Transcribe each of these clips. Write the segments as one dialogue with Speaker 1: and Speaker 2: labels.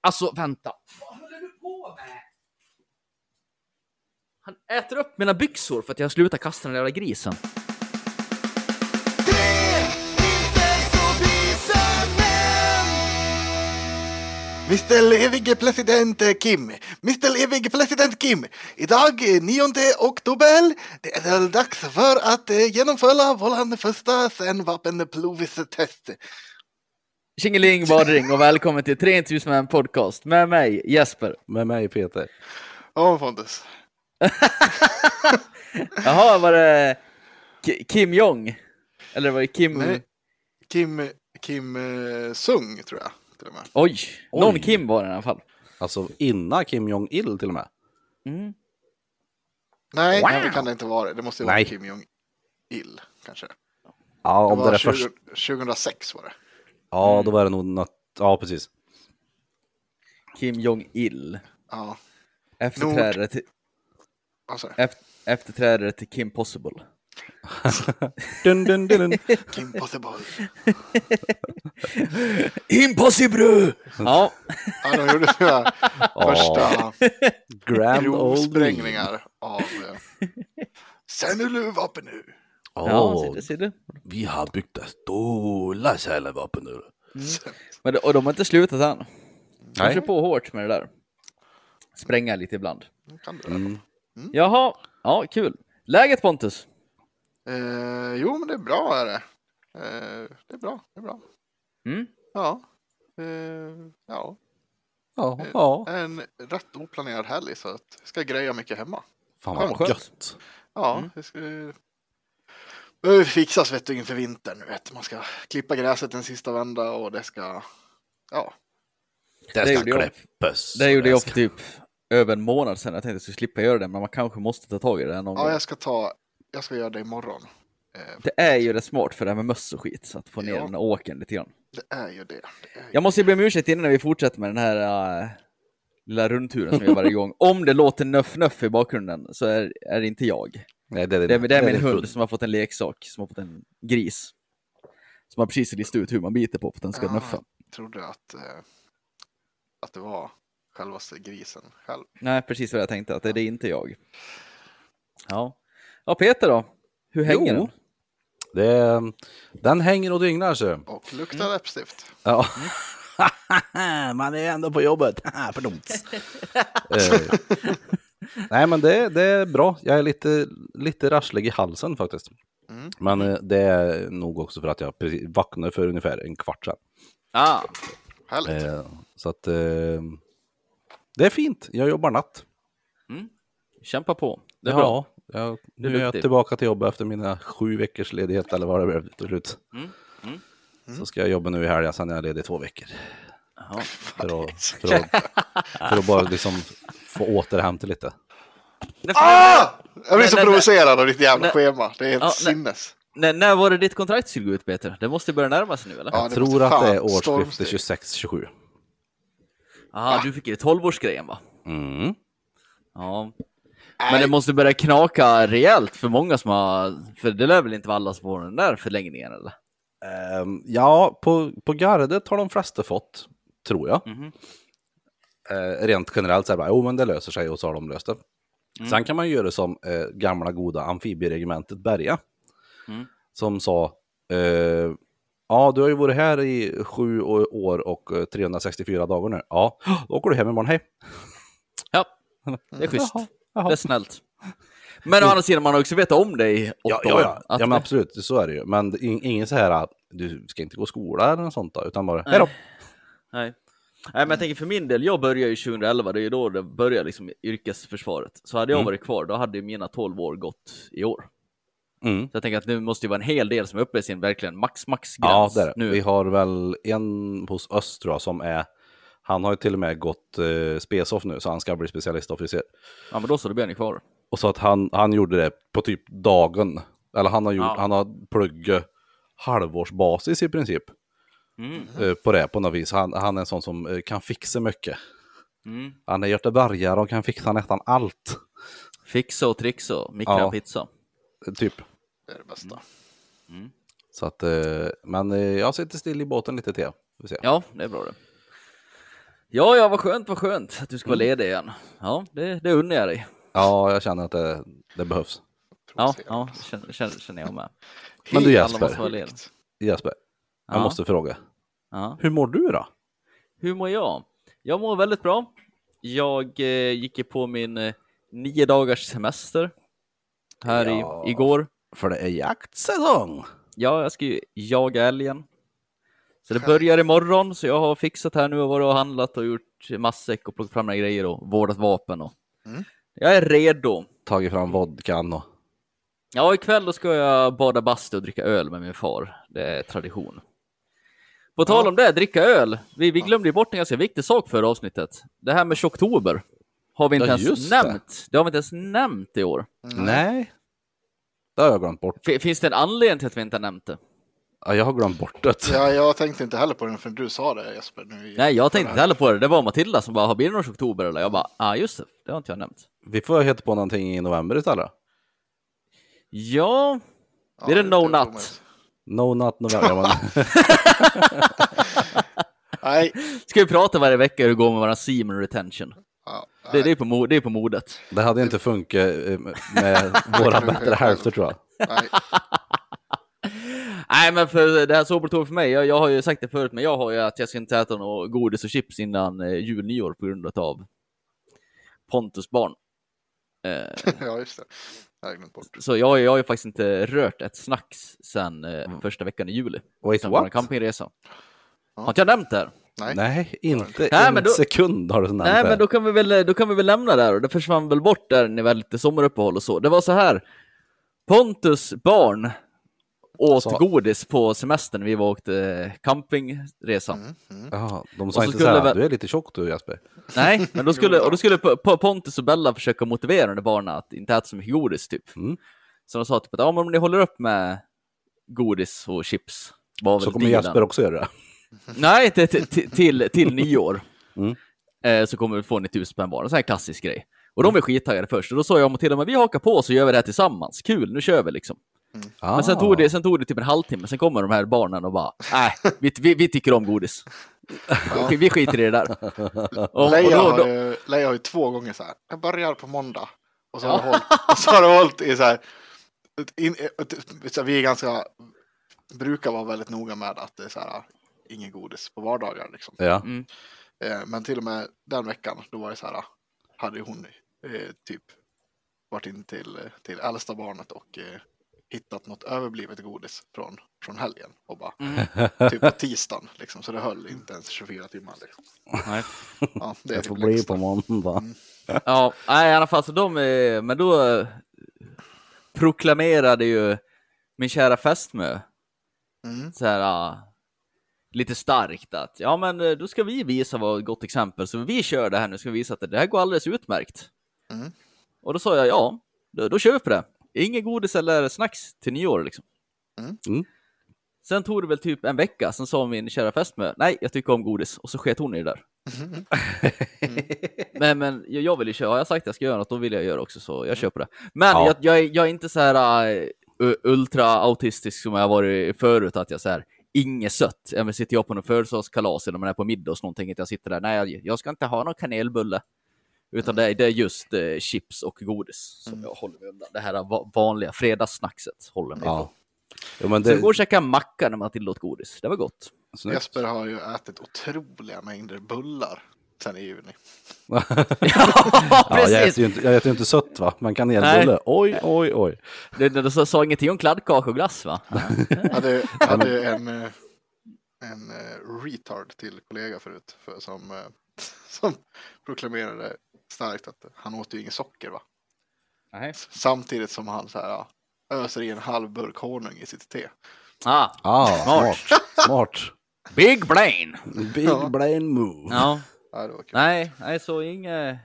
Speaker 1: Alltså vänta. Vad håller du på med? Han äter upp mina byxor för att jag slutar kasta den där jävla grisen.
Speaker 2: Mr evige president Kim, Mr evige president Kim. Idag eh, 9 oktober, det är väl dags för att eh, genomföra vår första kärnvapenprovstest.
Speaker 1: Tjingeling badring och välkommen till 3000 män podcast med mig Jesper.
Speaker 3: Med mig Peter.
Speaker 2: Ja, Pontus.
Speaker 1: Jaha, var det Ki- Kim Jong? Eller var det Kim?
Speaker 2: Nej. Kim, Kim eh, Sung, tror jag. Till och med.
Speaker 1: Oj, någon
Speaker 3: Oj.
Speaker 1: Kim var det i alla fall.
Speaker 3: Alltså innan Kim Jong-Il till och med.
Speaker 1: Mm.
Speaker 2: Nej,
Speaker 1: Wow.
Speaker 2: nej, det kan det inte vara. Det måste ju vara
Speaker 3: Nej.
Speaker 2: Kim Jong-Il, kanske. Det
Speaker 3: Ja, om det, Mm.
Speaker 2: var
Speaker 3: där
Speaker 2: 20,
Speaker 3: först.
Speaker 2: 2006 var det.
Speaker 3: Ja, då var det nog något. Ja, precis.
Speaker 1: Kim Jong-Il.
Speaker 2: Ja,
Speaker 1: Efterträdare till,
Speaker 2: alltså,
Speaker 1: eft- efterträdare till Kim Possible.
Speaker 3: Dun, dun, dun, dun.
Speaker 2: Kim Possible.
Speaker 1: Impossible! Ja,
Speaker 2: Ja, de gjorde sina första
Speaker 3: Grand Old Me.
Speaker 2: provsprängningar av... eh, Sen är du vapen nu!
Speaker 1: ja
Speaker 3: Ja,
Speaker 1: ser du, ser du.
Speaker 3: vi har byggt det stora kärnvapen nu.
Speaker 2: Mm.
Speaker 1: Men, det- och de har inte slutat än. De
Speaker 3: Nej.
Speaker 1: kör på hårt med det där. Spränga lite ibland.
Speaker 2: Nu Kan du det.
Speaker 3: Mm.
Speaker 1: Jaha, ja kul. Läget Pontus?
Speaker 2: Eh, jo, men det är bra är det. Eh, det är bra, det är bra.
Speaker 1: Mm.
Speaker 2: Ja. Eh, ja,
Speaker 3: Ja, ja.
Speaker 2: en rätt oplanerad helg så att jag ska greja mycket hemma.
Speaker 3: Fan
Speaker 1: Ja,
Speaker 3: vad
Speaker 1: skönt.
Speaker 3: gött.
Speaker 2: Ja, det ska... behöver fixas vet du inför vintern. Vet. du. Man ska klippa gräset en sista vända och det ska... Ja,
Speaker 3: Det
Speaker 1: Det
Speaker 3: ska
Speaker 1: gjorde jag.
Speaker 3: klippas.
Speaker 1: Det gjorde jag
Speaker 3: ska-
Speaker 1: för typ över en månad sedan. Jag tänkte att jag skulle slippa göra det, men man kanske måste ta tag i det här någon
Speaker 2: ja
Speaker 1: gång.
Speaker 2: jag ska ta... Jag ska göra det imorgon. Eh,
Speaker 1: Det är ju rätt smart för det här med möss och skit, så att få ner
Speaker 2: Ja.
Speaker 1: den här åken lite grann.
Speaker 2: det är ju det. det är ju...
Speaker 1: Jag måste ju be om ursäkt innan vi fortsätter med den här äh, lilla rundturen som vi gör varje gång. Om det låter nöff-nöff i bakgrunden så är, är det inte jag.
Speaker 3: Nej, det är,
Speaker 1: Det är, det är min
Speaker 3: din
Speaker 1: hund som har fått en leksak, som har fått en gris. Som har precis listat ut hur man biter på för att den ska
Speaker 2: Ja.
Speaker 1: nöffa.
Speaker 2: trodde att, eh, att det var självaste grisen själv.
Speaker 1: Nej, precis vad jag tänkte, att det är det inte jag. Ja, ja Peter då? Hur hänger
Speaker 3: Jo.
Speaker 1: den?
Speaker 3: Det är, den hänger och dygnar så.
Speaker 2: Och luktar
Speaker 1: Mm.
Speaker 2: läppstift.
Speaker 3: Ja. Man är ju ändå på jobbet. Pardons. Eh, Nej, men det, det är bra. Jag är lite, lite rasslig i halsen faktiskt.
Speaker 2: Mm.
Speaker 3: Men eh, det är nog också för att jag precis vaknade för ungefär en kvart sedan.
Speaker 1: Ah,
Speaker 2: Härligt.
Speaker 3: Eh, Så att eh, det är fint. Jag jobbar natt.
Speaker 1: kämpa på. Det är
Speaker 3: ja,
Speaker 1: bra.
Speaker 3: Jag,
Speaker 1: är
Speaker 3: nu är jag
Speaker 1: duktig.
Speaker 3: tillbaka till jobbet efter mina sju veckors ledighet eller vad det blev till slut. Så ska jag jobba nu i helgen, sen är jag ledig i två veckor.
Speaker 1: Jaha.
Speaker 3: För att, för att, för att bara liksom få återhämta lite.
Speaker 2: Ah! Jag blir
Speaker 1: Nej,
Speaker 2: så
Speaker 1: nej,
Speaker 2: provocerad av ditt jävla
Speaker 1: Nej.
Speaker 2: schema. Det är helt
Speaker 1: Ja, nej.
Speaker 2: sinnes.
Speaker 1: När, när var det ditt kontrakt skulle gå ut Peter? Det måste ju börja närma sig nu eller?
Speaker 2: Ja,
Speaker 3: Jag
Speaker 2: det
Speaker 3: tror
Speaker 2: måste
Speaker 3: att det är
Speaker 2: fan
Speaker 3: årsskifte
Speaker 2: stormsteg.
Speaker 3: 26-27.
Speaker 1: Aha, du fick ju 12-årsgrejen va?
Speaker 3: Mm.
Speaker 1: Ja. Men det måste börja knaka rejält för många som har, för det lär väl inte vara alla som får den där förlängningen eller?
Speaker 3: Ehm, ja, på, på gardet har de flesta fått, tror jag.
Speaker 1: Mhm.
Speaker 3: Eh, rent generellt så är det bara, jo men det löser sig och så har de löst det. Sen kan man ju göra som eh, gamla goda amfibieregementet Berga.
Speaker 1: Mm.
Speaker 3: Som sa, eh, ja du har ju varit här i sju å- år och eh, 364 dagar nu. Ja, då åker du hem imorgon, hej.
Speaker 1: Ja, det är schysst.
Speaker 3: Mm. Jaha,
Speaker 1: Det är
Speaker 3: jaha.
Speaker 1: snällt. Men å andra sidan, man har också vetat om det i åtta
Speaker 3: Ja, ja,
Speaker 1: år.
Speaker 3: ja. ja
Speaker 1: Att-
Speaker 3: men absolut, så är det ju. Men det är in- ingen så här, du ska inte gå i skola eller något sånt då, utan bara, hej då.
Speaker 1: Nej. Nej,
Speaker 3: Mm.
Speaker 1: men jag tänker för min del, jag började ju 2011, det är ju då det börjar liksom yrkesförsvaret. Så hade jag
Speaker 3: Mm.
Speaker 1: varit kvar, då hade ju mina 12 år gått i år.
Speaker 3: Mm.
Speaker 1: Så jag tänker att nu måste det vara en hel del som är uppe i sin verkligen
Speaker 3: Ja,
Speaker 1: max-max-gräns.
Speaker 3: det är det.
Speaker 1: nu.
Speaker 3: Vi har väl en hos Öst tror jag, som är, han har ju till och med gått eh, spesoff nu, så han ska bli specialistofficer.
Speaker 1: Ja, men då så, då blir ni kvar.
Speaker 3: Och så att han, han gjorde det på typ dagen. Eller han har, gjort,
Speaker 1: Ja.
Speaker 3: han har pluggat halvårsbasis i princip.
Speaker 1: Mm, Mhm.
Speaker 3: eh, På det på något vis. Han, han är en sån som eh, kan fixa mycket.
Speaker 1: Mm.
Speaker 3: Han är göteborgare och kan fixa nästan allt.
Speaker 1: Fixa och trixa och mikra
Speaker 3: Ja.
Speaker 1: och pizza.
Speaker 3: eh, Typ.
Speaker 2: Det är det
Speaker 1: Mm.
Speaker 2: bästa.
Speaker 3: Så att, eh, men eh, jag sitter still i båten lite till. Får vi se.
Speaker 1: Ja, det är bra det. Ja, ja, vad skönt, vad skönt att du ska vara
Speaker 3: Mm.
Speaker 1: ledig igen. Ja, det, det unnar jag dig.
Speaker 3: Ja, jag känner att det, det behövs.
Speaker 1: Ja, ja känner, känner, känner jag med.
Speaker 3: Men du,
Speaker 1: Alla
Speaker 3: Jesper.
Speaker 1: måste vara lediga.
Speaker 3: Jesper, jag
Speaker 1: Ja.
Speaker 3: måste fråga.
Speaker 1: Ja.
Speaker 3: Hur mår du då?
Speaker 1: Hur mår jag? Jag mår väldigt bra. Jag eh, gick ju på min eh, nio dagars semester här
Speaker 3: Ja.
Speaker 1: i, igår.
Speaker 3: För det är jaktsäsong.
Speaker 1: Ja, jag ska ju jaga älgen. Så det börjar imorgon, så jag har fixat här nu och varit och handlat och gjort matsäck och plockat fram några grejer och vårdat vapen. Och...
Speaker 2: Mm.
Speaker 1: Jag är redo.
Speaker 3: Tagit fram vodkan och...
Speaker 1: Ja, ikväll då ska jag bada bastu och dricka öl med min far. Det är tradition. På tal om det, dricka öl. Vi, vi glömde ju bort en ganska viktig sak förra avsnittet. Det här med tjocktober har vi inte
Speaker 3: Ja,
Speaker 1: ens
Speaker 3: just det.
Speaker 1: nämnt. Det har vi inte ens nämnt i år.
Speaker 3: Nej. Det har jag glömt bort.
Speaker 1: F- finns det en anledning till att vi inte har nämnt det?
Speaker 3: Ja, jag har glömt bort det.
Speaker 2: Ja, jag tänkte inte heller på den förrän du sa det Jesper. Nu i-
Speaker 1: Nej, jag tänkte inte heller på det. Det var Matilda som bara, har blivit någon oktober eller? Jag bara, ah just det, det har inte jag nämnt.
Speaker 3: Vi får hitta på någonting i november istället.
Speaker 1: Ja,
Speaker 2: Ja,
Speaker 1: det är det no
Speaker 2: är
Speaker 1: nut.
Speaker 3: No not november. Ja, men-
Speaker 2: Nej.
Speaker 1: Ska vi prata varje vecka hur det går med våran semen retention?
Speaker 2: Ja,
Speaker 1: Det, det, är på mo- det är på modet.
Speaker 3: det hade inte funkat eh, med våra bättre hälfter tror jag.
Speaker 2: nej.
Speaker 1: Nej, men för det här sobertåget för mig, jag, jag har ju sagt det förut, men jag har ju att jag ska inte äta något godis och chips innan eh, jul, nyår på grund av Pontus barn. Eh,
Speaker 2: ja, just det. Jag har glömt bort.
Speaker 1: så jag, jag har ju faktiskt inte rört ett snacks sedan eh, första veckan i juli.
Speaker 3: Wait
Speaker 1: Sen vår
Speaker 3: what?
Speaker 1: campingresa. Har inte jag nämnt det här?
Speaker 2: Nej.
Speaker 3: Nej, inte
Speaker 1: Nej,
Speaker 3: en
Speaker 1: men då-
Speaker 3: sekund har du nämnt
Speaker 1: Nej,
Speaker 3: det.
Speaker 1: men då kan, vi väl, då kan vi väl lämna där och det försvann väl bort där när det var lite sommaruppehåll och så. Det var så här. Pontus barn åt
Speaker 3: Så.
Speaker 1: godis på semestern vi var och åkte campingresa.
Speaker 2: Mm,
Speaker 3: Jaha, de
Speaker 1: Och
Speaker 3: sa
Speaker 1: så
Speaker 3: inte så
Speaker 1: skulle
Speaker 3: här,
Speaker 1: väl-
Speaker 3: du är lite tjock du Jesper.
Speaker 1: Nej, men då skulle, och då skulle P- P- Pontus och Bella försöka motivera de där barnen att inte äta så mycket godis typ.
Speaker 3: Mm.
Speaker 1: Så de sa typ att ja, men om ni håller upp med godis och chips. Var väl
Speaker 3: Så kommer
Speaker 1: dealen.
Speaker 3: Jesper också göra det.
Speaker 1: Nej, till, till, till, till nyår.
Speaker 3: Mm.
Speaker 1: Eh, så kommer vi få 9000 spänn var. En sån här klassisk grej. Och de var skittaggade först. Och då sa jag och Matilda, men vi hakar på så gör vi det här tillsammans. Kul, nu kör vi liksom. Men
Speaker 3: Ah.
Speaker 1: sen tog, det, sen tog det typ en halvtimme, sen kommer de här barnen och bara, nej, vi, vi, vi tycker om godis. Okej, vi skiter i det där. Och, och
Speaker 2: Leia,
Speaker 1: då,
Speaker 2: har
Speaker 1: då,
Speaker 2: ju, Leia har ju två gånger så här. Jag börjar på måndag. Och så har, det, hållit, och så har det hållit i så här. ett In, ett- ett- så vi är ganska, brukar vara väldigt noga med att det är så här. Ingen godis på vardagar liksom.
Speaker 3: Ja.
Speaker 1: mm,
Speaker 2: Eh, Men till och med den veckan, då var det så här. Hade ju hon eh, typ varit in till, till äldsta barnet och eh, hittat något överblivet godis från, från helgen. Och bara,
Speaker 1: Mm,
Speaker 2: typ på tisdagen liksom. Så det höll inte ens 24 timmar liksom.
Speaker 1: nej.
Speaker 2: Ja, det är
Speaker 3: Det får
Speaker 2: typ
Speaker 3: bli
Speaker 2: längsta.
Speaker 3: på måndag.
Speaker 1: Ja, nej, i alla fall, så de, eh, men då eh, proklamerade ju min kära fästmö
Speaker 2: Mm.
Speaker 1: så här, ah, lite starkt att ja, men eh, då ska vi visa vad ett gott exempel, så vi kör det här nu, ska vi visa att det här går alldeles utmärkt.
Speaker 2: Mm.
Speaker 1: Och då sa jag ja, då, då kör vi på det. Inget godis eller snacks till nyår liksom.
Speaker 2: Mm.
Speaker 3: Mm.
Speaker 1: Sen tog det väl typ en vecka, sen sa min kära fästmö, nej, jag tycker om godis, och så sket hon i det där.
Speaker 2: Mm.
Speaker 1: Men, men jag- jag vill ju köra, har jag sagt att jag ska göra något, då vill jag göra också, så jag köper det. Men
Speaker 3: Ja.
Speaker 1: jag, jag, är- jag är inte så här äh, u- ultra-autistisk som jag har varit förut, att jag så här, inget sött. Även sitter jag på någon födelsedagskalas eller man är på middag och någonting, att jag sitter där, nej, jag, jag ska inte ha någon kanelbulle. Utan det, är- det är just eh, chips och godis som jag håller mig undan. Det här va- vanliga fredagssnackset håller mig ifrån.
Speaker 3: Ja. Jo, men
Speaker 1: Så det...
Speaker 3: det...
Speaker 1: går och käka macka när man tillåt godis, det var gott.
Speaker 3: Snyggt.
Speaker 2: Jesper har ju ätit otroliga mängder bullar sen i juni.
Speaker 1: ja,
Speaker 3: Ja, jag
Speaker 1: precis!
Speaker 3: äter ju inte, jag äter ju inte sött va, men kanelbulle.
Speaker 1: Nej.
Speaker 3: Oj, oj, oj.
Speaker 1: Du, du, du sa ingenting om kladdkaka och glass va?
Speaker 2: Jag hade, jag hade ju en, eh, en eh, retard till kollega förut för, som, eh, som proklamerade starkt att han åt ju inget socker va.
Speaker 1: Nej.
Speaker 2: Samtidigt som han så här ja, öser i en halv burk honung i sitt te.
Speaker 1: Ah,
Speaker 3: Ah,
Speaker 1: Smart.
Speaker 3: smart. Smart.
Speaker 1: big brain!
Speaker 3: Big brain move.
Speaker 1: Ja,
Speaker 2: Ja, det var kul.
Speaker 1: nej, nej, så inga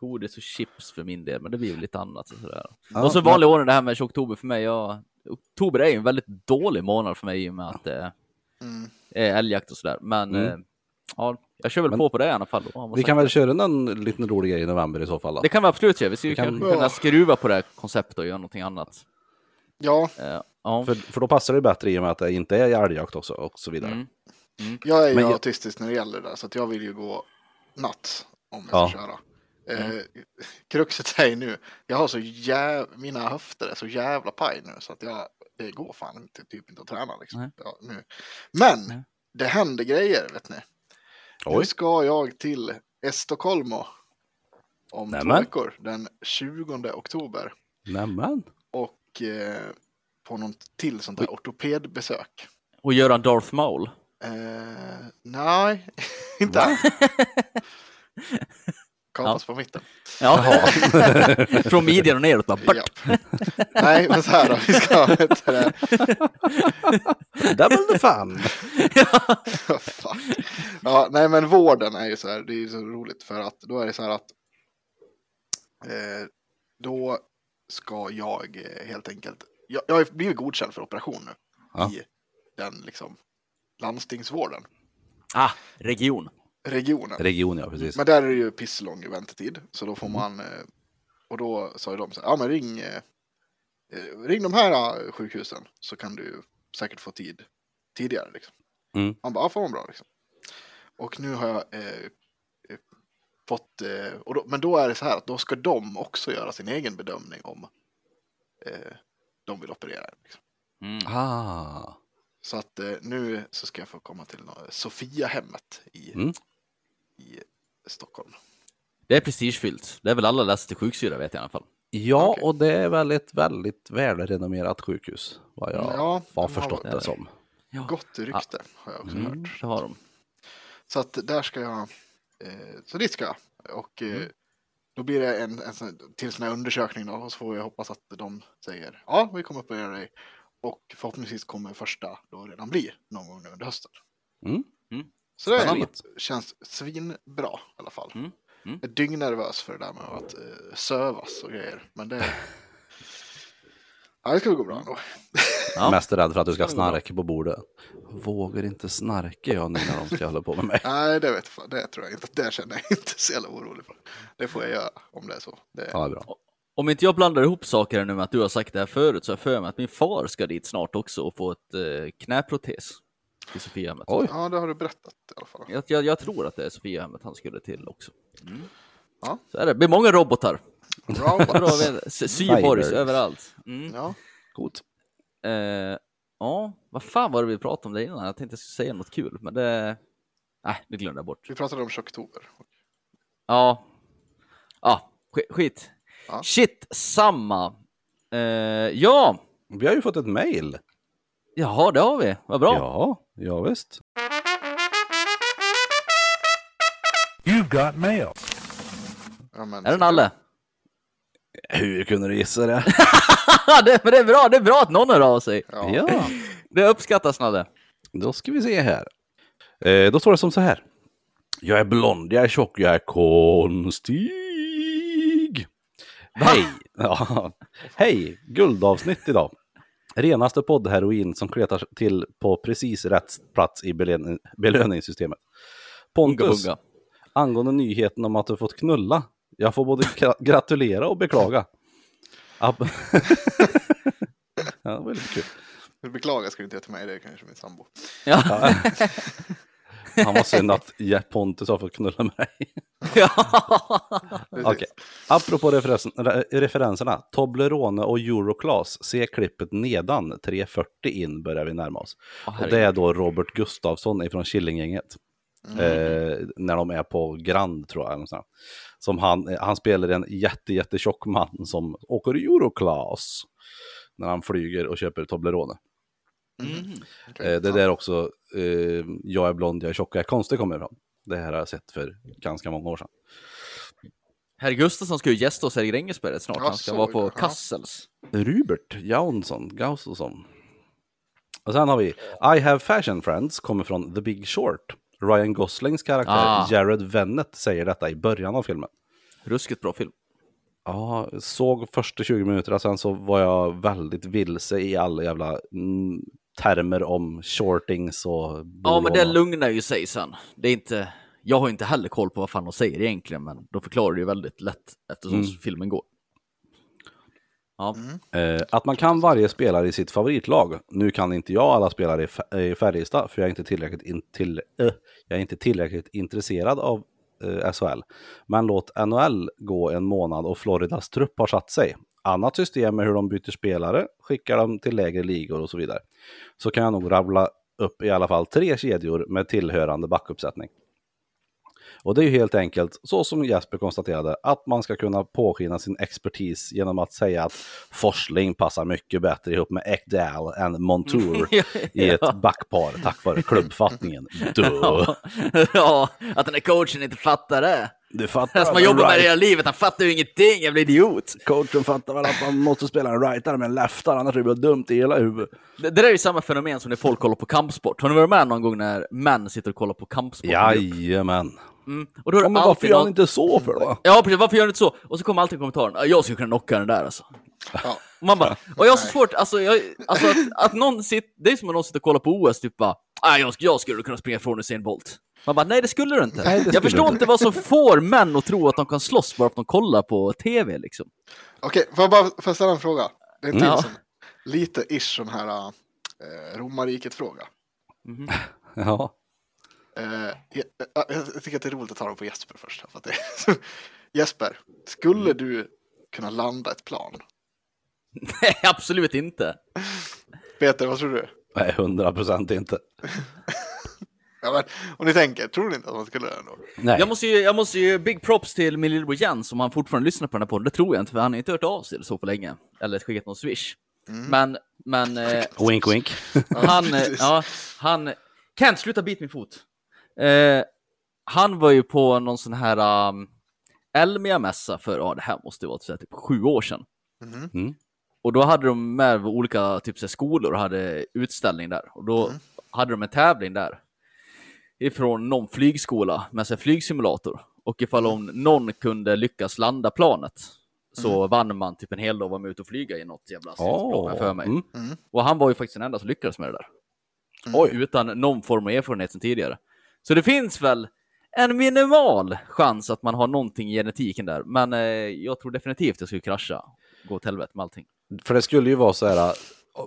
Speaker 1: godis och chips för min del, men det blir ju lite annat och sådär.
Speaker 3: Ja,
Speaker 1: och så
Speaker 3: men-
Speaker 1: vanlig ordning det här med oktober för mig. Jag, oktober är ju en väldigt dålig månad för mig i och med att det
Speaker 2: Mm.
Speaker 1: är älgjakt och sådär, men
Speaker 3: Mm.
Speaker 1: eh, ja, jag kör väl
Speaker 3: Men-
Speaker 1: på på det i alla fall. Då.
Speaker 3: Vi kan väl köra någon liten rolig grej i november i så fall. Då.
Speaker 1: Det kan vi absolut göra. Vi skulle
Speaker 3: Vi kan-
Speaker 1: kunna
Speaker 2: Ja.
Speaker 1: skruva på det här konceptet och göra någonting annat.
Speaker 2: Ja,
Speaker 1: Eh, ja.
Speaker 3: För, för då passar det bättre i och med att det inte är älgjakt också och så vidare.
Speaker 1: Mm.
Speaker 2: jag är ju
Speaker 3: Men jag-
Speaker 2: autistisk när det gäller det där så att jag vill ju gå natt om jag
Speaker 3: Ja. Mm.
Speaker 2: ska köra. Eh, kruxet är ju nu, jag har så jävla, mina höfter är så jävla paj nu så att jag, det går fan inte, typ inte att träna
Speaker 1: Nej.
Speaker 2: liksom. Ja, nu. Men
Speaker 1: Nej.
Speaker 2: det händer grejer vet ni. Nu
Speaker 3: Oj.
Speaker 2: ska jag till Estocolmo om två
Speaker 3: Nämen.
Speaker 2: veckor, den 20 oktober.
Speaker 3: Nämen.
Speaker 2: Och eh, på något till sånt där ortopedbesök.
Speaker 1: Och göra en Darth Maul.
Speaker 2: Eh, nej, inte alls. Kapas på mitten.
Speaker 1: Ja. Från midjan och neråt. Bara,
Speaker 2: Ja. Nej, men så här då. Vi ska... vet du det.
Speaker 3: Double the fun.
Speaker 2: Fuck. Ja, nej, men vården är ju så här. Det är ju så roligt för att då är det så här att eh, då ska jag eh, helt enkelt. Jag, jag har ju blivit godkänd för operation nu
Speaker 3: Ja.
Speaker 2: i den liksom landstingsvården,
Speaker 1: ah, region.
Speaker 2: regionen.
Speaker 3: Region, ja precis.
Speaker 2: Men där är det ju pisslång väntetid, så då
Speaker 3: Mm.
Speaker 2: får man... eh, Och då sa ju de så här, ja men ring, eh, eh, ring de här eh, sjukhusen så kan du säkert få tid tidigare. Liksom.
Speaker 3: Mm.
Speaker 2: Han bara, ja fan vad bra liksom. Och nu har jag eh, eh, fått, eh, och då, men då är det så här att då ska de också göra sin egen bedömning om eh, de vill operera. en, Liksom.
Speaker 1: Mm.
Speaker 3: Ah.
Speaker 2: Så att eh, nu så ska jag få komma till nå- Sofiahemmet i,
Speaker 3: Mm.
Speaker 2: i Stockholm.
Speaker 1: Det är prestigefyllt. Det är väl alla läser till sjuksyra vet jag i alla fall.
Speaker 3: Ja,
Speaker 2: Okej.
Speaker 3: och det är väldigt, väldigt välrenommerat sjukhus. Vad jag
Speaker 2: Ja, de har
Speaker 3: har förstått
Speaker 2: väl-
Speaker 3: det som.
Speaker 2: Gott rykte har jag också hört.
Speaker 1: Mm, det har de.
Speaker 2: Så att där ska jag, eh, så dit ska jag. Och eh, då blir det en, en sån, till sån här undersökning då, och så får jag hoppas att de säger ja, vi kommer operera dig. Och förhoppningsvis kommer första då redan bli någon gång nu under hösten.
Speaker 3: Mm.
Speaker 1: Mm.
Speaker 2: Så det
Speaker 3: Spännande.
Speaker 2: är, känns svinbra i alla fall.
Speaker 1: Mm. Mm.
Speaker 2: Jag är dyngnervös för det där med att eh, sövas och grejer. Men det... Ja, det ska gå bra ändå.
Speaker 1: Ja.
Speaker 3: Mest rädd för att du ska
Speaker 1: Ska det gå bra?
Speaker 3: snarka på bordet. Vågar inte snarka jag nu när de ska hålla på med mig.
Speaker 2: Nej, det vet jag fan. Det tror jag inte. Det känner jag inte så jävla orolig för. Det får jag göra om det är så. Det...
Speaker 3: Ja, det är bra.
Speaker 1: Om inte jag blandar ihop saker här nu med att du har sagt det här förut så har jag för mig att min far ska dit snart också och få ett eh, knäprotes till Sofiahemmet.
Speaker 3: Oj,
Speaker 2: Ja, det har du berättat i alla fall.
Speaker 1: Jag, jag, jag tror att det är Sofiahemmet han skulle till också. Mm.
Speaker 2: Ja.
Speaker 1: Så är det. Det blir många robotar. Bra,
Speaker 2: Bra.
Speaker 1: vet- s- Cyborgs
Speaker 3: Cyborgs.
Speaker 1: överallt. Mm.
Speaker 2: Ja,
Speaker 3: coolt.
Speaker 1: Eh, ja, vad fan var det vi pratade om där innan? Jag tänkte jag skulle säga något kul, men det... Nej, det glömde jag bort.
Speaker 2: vi pratade om tjocktober.
Speaker 1: Ja. Ja, sk- skit.
Speaker 2: Ja.
Speaker 1: Shit, samma. Eh, ja,
Speaker 3: Vi har ju fått ett mejl.
Speaker 1: jaha, det har vi. Vad bra.
Speaker 3: Ja, ja visst.
Speaker 4: You've got mail.
Speaker 2: Ja, men,
Speaker 1: Är det Nalle?
Speaker 3: Hur kunde du gissa det?
Speaker 1: Ja, det, men det är bra. Det är bra att någon hör av sig.
Speaker 2: Ja.
Speaker 3: ja.
Speaker 1: Det uppskattas Nalle.
Speaker 3: Då ska vi se här. Eh, då står det som så här. Jag är blond, jag är tjock, jag är konstig. Hej! Ja. Hej! Guldavsnitt idag. Renaste poddheroin som kletar till på precis rätt plats i belön- belöningssystemet.
Speaker 1: Unga,
Speaker 3: Pontus,
Speaker 1: unga.
Speaker 3: angående nyheten om att du fått knulla. Jag får både gra- gratulera och beklaga. Ab- ja, det var lite kul.
Speaker 2: Du beklagar ska du inte göra till mig, det är kanske min sambo.
Speaker 1: Ja.
Speaker 3: Han var synd att Ja- Pontus har fått knulla med dig.
Speaker 1: Ja.
Speaker 2: Precis.
Speaker 3: Okej. Apropå referensen, re, referenserna. Toblerone och Euroclass. Se klippet nedan. 3.40 in börjar vi närma oss.
Speaker 1: Åh,
Speaker 3: och
Speaker 1: herregud.
Speaker 3: det är då Robert Gustafsson ifrån Killinggänget. Eh, när de är på Grand tror jag. eller nåt sånt där. Som han, eh, han spelar en jätte, jätte tjock man som åker Euroclass. När han flyger och köper Toblerone.
Speaker 1: Mm.
Speaker 2: Okej.
Speaker 3: Eh, det där också, eh, jag är blond, jag är tjock, jag är konstig kommer ifrån. Det här har jag sett för ganska många år sedan.
Speaker 1: Herr Gustafsson ska ju gästa oss här i Grängesberget snart.
Speaker 2: Ja,
Speaker 1: Han ska
Speaker 2: så,
Speaker 1: vara på
Speaker 2: ja.
Speaker 1: Kassels.
Speaker 3: Rubert Jansson Gaustosson. Och sen har vi I have fashion friends, kommer från The Big Short. Ryan Goslings karaktär
Speaker 1: Ah.
Speaker 3: Jared Vennett säger detta i början av filmen.
Speaker 1: Ruskigt bra film.
Speaker 3: Ja, såg första 20 minuterna, sen så var jag väldigt vilse i alla jävla mm, termer om shortings och...
Speaker 1: Ja, men det
Speaker 3: bolån och-
Speaker 1: lugnar ju sig sen. Det är inte... Jag har inte heller koll på vad fan de säger egentligen, men de förklarar det ju väldigt lätt eftersom
Speaker 3: Mm.
Speaker 1: filmen går. Ja,
Speaker 2: Mm.
Speaker 3: Eh, att man kan varje spelare i sitt favoritlag. Nu kan inte jag alla spelare i eh, Fä- i Färjestad, för jag är inte tillräckligt, in, till, eh, jag är inte tillräckligt intresserad av eh, SHL. Men låt NHL gå en månad och Floridas trupp har satt sig. Annat system är hur de byter spelare, skickar dem till lägre ligor och så vidare. Så kan jag nog rabbla upp i alla fall tre kedjor med tillhörande backuppsättning. Och det är ju helt enkelt så som Jesper konstaterade, att man ska kunna påskina sin expertis genom att säga att Forsling passar mycket bättre ihop med Ekdal än Montour i ett backpar tack vare klubbfattningen. Du,
Speaker 1: ja, att den här coachen inte fattar det.
Speaker 3: du fattar
Speaker 1: Den som har jobbat med det hela livet, han fattar ju ingenting, jävla idiot.
Speaker 3: Coachen fattar väl att man måste spela en rightare med en leftare, annars blir det dumt i hela huvudet.
Speaker 1: Det, det där är ju samma fenomen som när folk kollar på kampsport. Har ni varit med någon gång när män sitter och kollar på kampsport?
Speaker 3: Jajamän.
Speaker 1: Mm. Och då är det
Speaker 3: Ja, men varför
Speaker 1: alltid
Speaker 3: gör
Speaker 1: någon-
Speaker 3: han inte så för då?
Speaker 1: Ja, precis. Varför gör du inte så? Och så kommer alltid kommentaren. "Ja, Jag skulle kunna knocka den där alltså.
Speaker 2: Ja.
Speaker 1: Och man bara, och jag har så svårt, alltså, jag, alltså att, att någon sitter, det är som om någon sitter och kollar på OS, typ bara, "Nej, jag, sk- jag skulle kunna springa från Usain Bolt. Man bara, nej det skulle du inte.
Speaker 3: Nej, det skulle
Speaker 1: jag förstår
Speaker 3: du
Speaker 1: inte vad som får män att tro att de kan slåss bara för att de kollar på TV liksom.
Speaker 2: Okej, får jag bara får jag ställa en fråga? Det är en till
Speaker 1: Ja.
Speaker 2: sån, lite ish sån här eh, romarriket-fråga.
Speaker 3: Ja.
Speaker 2: Eh, jag, jag, jag tycker att det är roligt att ta dem på Jesper först. här, För att det, Jesper, skulle du kunna landa ett plan?
Speaker 1: Nej, absolut inte.
Speaker 2: Peter, vad tror du?
Speaker 3: Nej, hundra procent inte.
Speaker 2: Ja, men, om ni tänker, tror ni inte att man skulle det ändå?
Speaker 3: Nej.
Speaker 1: Jag måste ju, jag måste ju big props till min lillebror Jens om han fortfarande lyssnar på den här podden. Det tror jag inte, för han har inte hört av sig så på länge. Eller skickat någon swish. Men, men... Eh,
Speaker 3: Wink, wink.
Speaker 1: Han, eh,
Speaker 2: precis.
Speaker 1: ja, han, Kent, sluta bit min fot. Eh, han var ju på någon sån här um, Elmia-mässa för, ja det här måste ju vara så här, typ sju år sedan.
Speaker 2: Mhm.
Speaker 3: Mm.
Speaker 1: Och då hade de med olika typ, så här, skolor och hade utställning där. Och då hade de en tävling där. Ifrån någon flygskola med så här, flygsimulator. Och ifall om någon kunde lyckas landa planet så vann man typ en hel dag och var med ute och flyga i något jävla stridsplan har jag för mig.
Speaker 3: Mm.
Speaker 1: Och han var ju faktiskt den enda som lyckades med det där.
Speaker 3: Oj.
Speaker 1: Utan någon form av erfarenhet sedan tidigare. Så det finns väl en minimal chans att man har någonting i genetiken där. Men eh, jag tror definitivt att jag skulle krascha. Gå åt helvete med allting.
Speaker 3: För det skulle ju vara så här,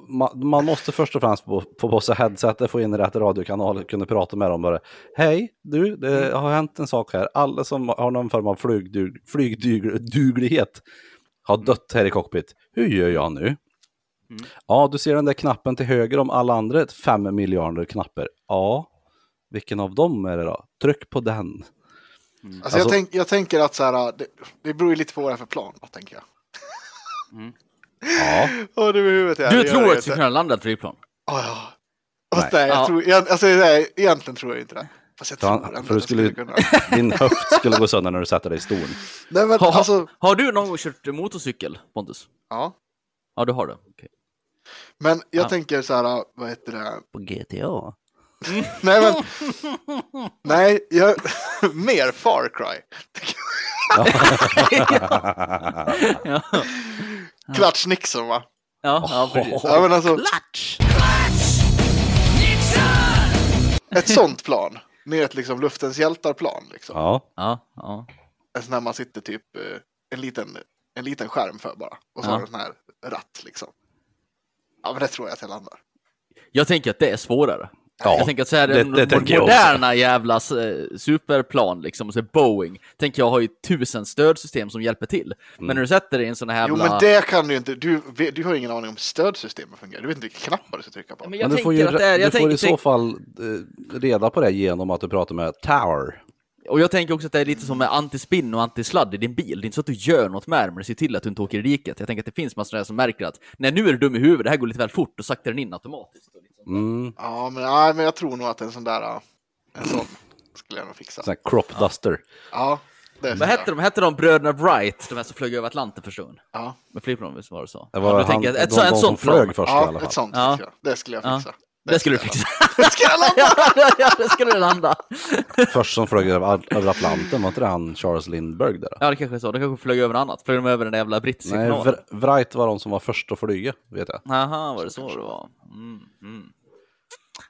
Speaker 3: man, man måste först och främst få få på sig headsetet, få in rätt radiokanal och kunna prata med dem bara. Hej, du, det har hänt en sak här. Alla som har någon form av flygdug, flygduglighet har dött här i cockpit. Hur gör jag nu? Ja, du ser den där knappen till höger om alla andra, ett fem miljarder knappar. Ja, vilken av dem är det då? Tryck på den.
Speaker 2: Alltså, jag,
Speaker 3: Alltså-
Speaker 2: tänk, jag tänker att så här, äh, det, det beror ju lite på vad det är för plan, vad tänker jag.
Speaker 3: Ja,
Speaker 2: Åh, du med huvudet här,
Speaker 1: du
Speaker 2: det gör
Speaker 1: tror
Speaker 2: jag
Speaker 1: att du
Speaker 2: inte.
Speaker 1: skulle kunna landa ett flygplan?
Speaker 2: Ja, ja.
Speaker 3: Nej.
Speaker 2: Fast nej, jag
Speaker 1: Ja.
Speaker 2: tror, jag, alltså, nej, egentligen tror jag inte det. Fast jag
Speaker 3: För
Speaker 2: tror
Speaker 3: han-
Speaker 2: ändå att
Speaker 3: för du
Speaker 2: jag
Speaker 3: skulle-
Speaker 2: kunna.
Speaker 3: din höft skulle gå sönder när du sätter dig i stolen.
Speaker 2: Nej, men
Speaker 1: Har,
Speaker 2: alltså,
Speaker 1: har du någon gång kört motorcykel, Pontus?
Speaker 2: ja.
Speaker 1: Ja, du har det. Okej.
Speaker 2: Men jag
Speaker 1: Ja.
Speaker 2: tänker så här, äh, vad heter det?
Speaker 3: På GTA?
Speaker 2: Nej, men... nej, jag... mer Far Cry.
Speaker 1: Ja,
Speaker 2: Klatsch Nixon, va?
Speaker 1: ja, ja, precis.
Speaker 2: Ja, men alltså, ett sånt plan. Med ett liksom luftens hjältar-plan. Liksom.
Speaker 3: Ja.
Speaker 1: Ja, ja.
Speaker 2: En sån här man sitter typ eh, en liten, en liten skärm för bara. Och så
Speaker 1: Ja.
Speaker 2: har du en sån här ratt liksom. Ja, men det tror jag att jag landar.
Speaker 1: Jag tänker att det är svårare.
Speaker 3: Ja,
Speaker 1: jag tänker att så här,
Speaker 3: det-
Speaker 1: de
Speaker 3: det tänker jag
Speaker 1: moderna jävla eh, superplan, liksom, så här Boeing, tänker jag har ju tusen stödsystem som hjälper till.
Speaker 3: Mm.
Speaker 1: Men när du sätter dig i en sån här
Speaker 2: Jo,
Speaker 1: jävla...
Speaker 2: men det kan du ju inte. Du, vet- du har ju ingen aning om stödsystemet fungerar. Du vet inte vilka knappar du ska trycka på.
Speaker 1: Ja, men
Speaker 3: Men
Speaker 1: jag
Speaker 3: du
Speaker 1: tänker
Speaker 3: får, ju,
Speaker 1: att det är...
Speaker 3: du
Speaker 1: Jag
Speaker 3: får
Speaker 1: tänker,
Speaker 3: i så fall eh, reda på det genom att du pratar med Tower.
Speaker 1: Och jag tänker också att det är lite som med antispinn och antisladd i din bil. Det är inte så att du gör något med det, men se till att du inte åker i diket. Jag tänker att det finns massor där som märker att nej, nu är du dum i huvudet, det här går lite väl fort, och saktar den in automatiskt. Och liksom.
Speaker 3: Mm,
Speaker 2: Ja, men, nej, men jag tror nog att en sån där, ja, en sån skulle jag nog fixa.
Speaker 3: sån här crop duster.
Speaker 2: Ja, det
Speaker 1: Vad hette de? Hette de bröderna Wright, de här som flög över Atlanten förstår hon?
Speaker 2: Ja,
Speaker 1: Med flygplan, visst var det så?
Speaker 3: Det var
Speaker 1: Ja, då
Speaker 3: han,
Speaker 1: tänker jag att
Speaker 3: de,
Speaker 1: ett, så,
Speaker 3: de
Speaker 1: ett
Speaker 3: som
Speaker 1: sånt
Speaker 3: flög
Speaker 1: plan.
Speaker 3: först i alla
Speaker 2: ja
Speaker 3: fall.
Speaker 2: ett sånt
Speaker 1: Ja.
Speaker 2: skulle jag. Det skulle jag
Speaker 1: Ja.
Speaker 2: fixa.
Speaker 1: Det skulle du fixa.
Speaker 2: Det skulle jag landa!
Speaker 1: ja, ja, det skulle du landa.
Speaker 3: Först som flög över, över Atlanten, var inte det han Charles Lindbergh där?
Speaker 1: Ja, det kanske är så. De kanske flög över något annat. Flög de över den där jävla brittiska
Speaker 3: Nej,
Speaker 1: kanalen?
Speaker 3: Vr- Wright var de som var först att flyga, vet jag.
Speaker 1: Aha, var det så det var? Mm, mm.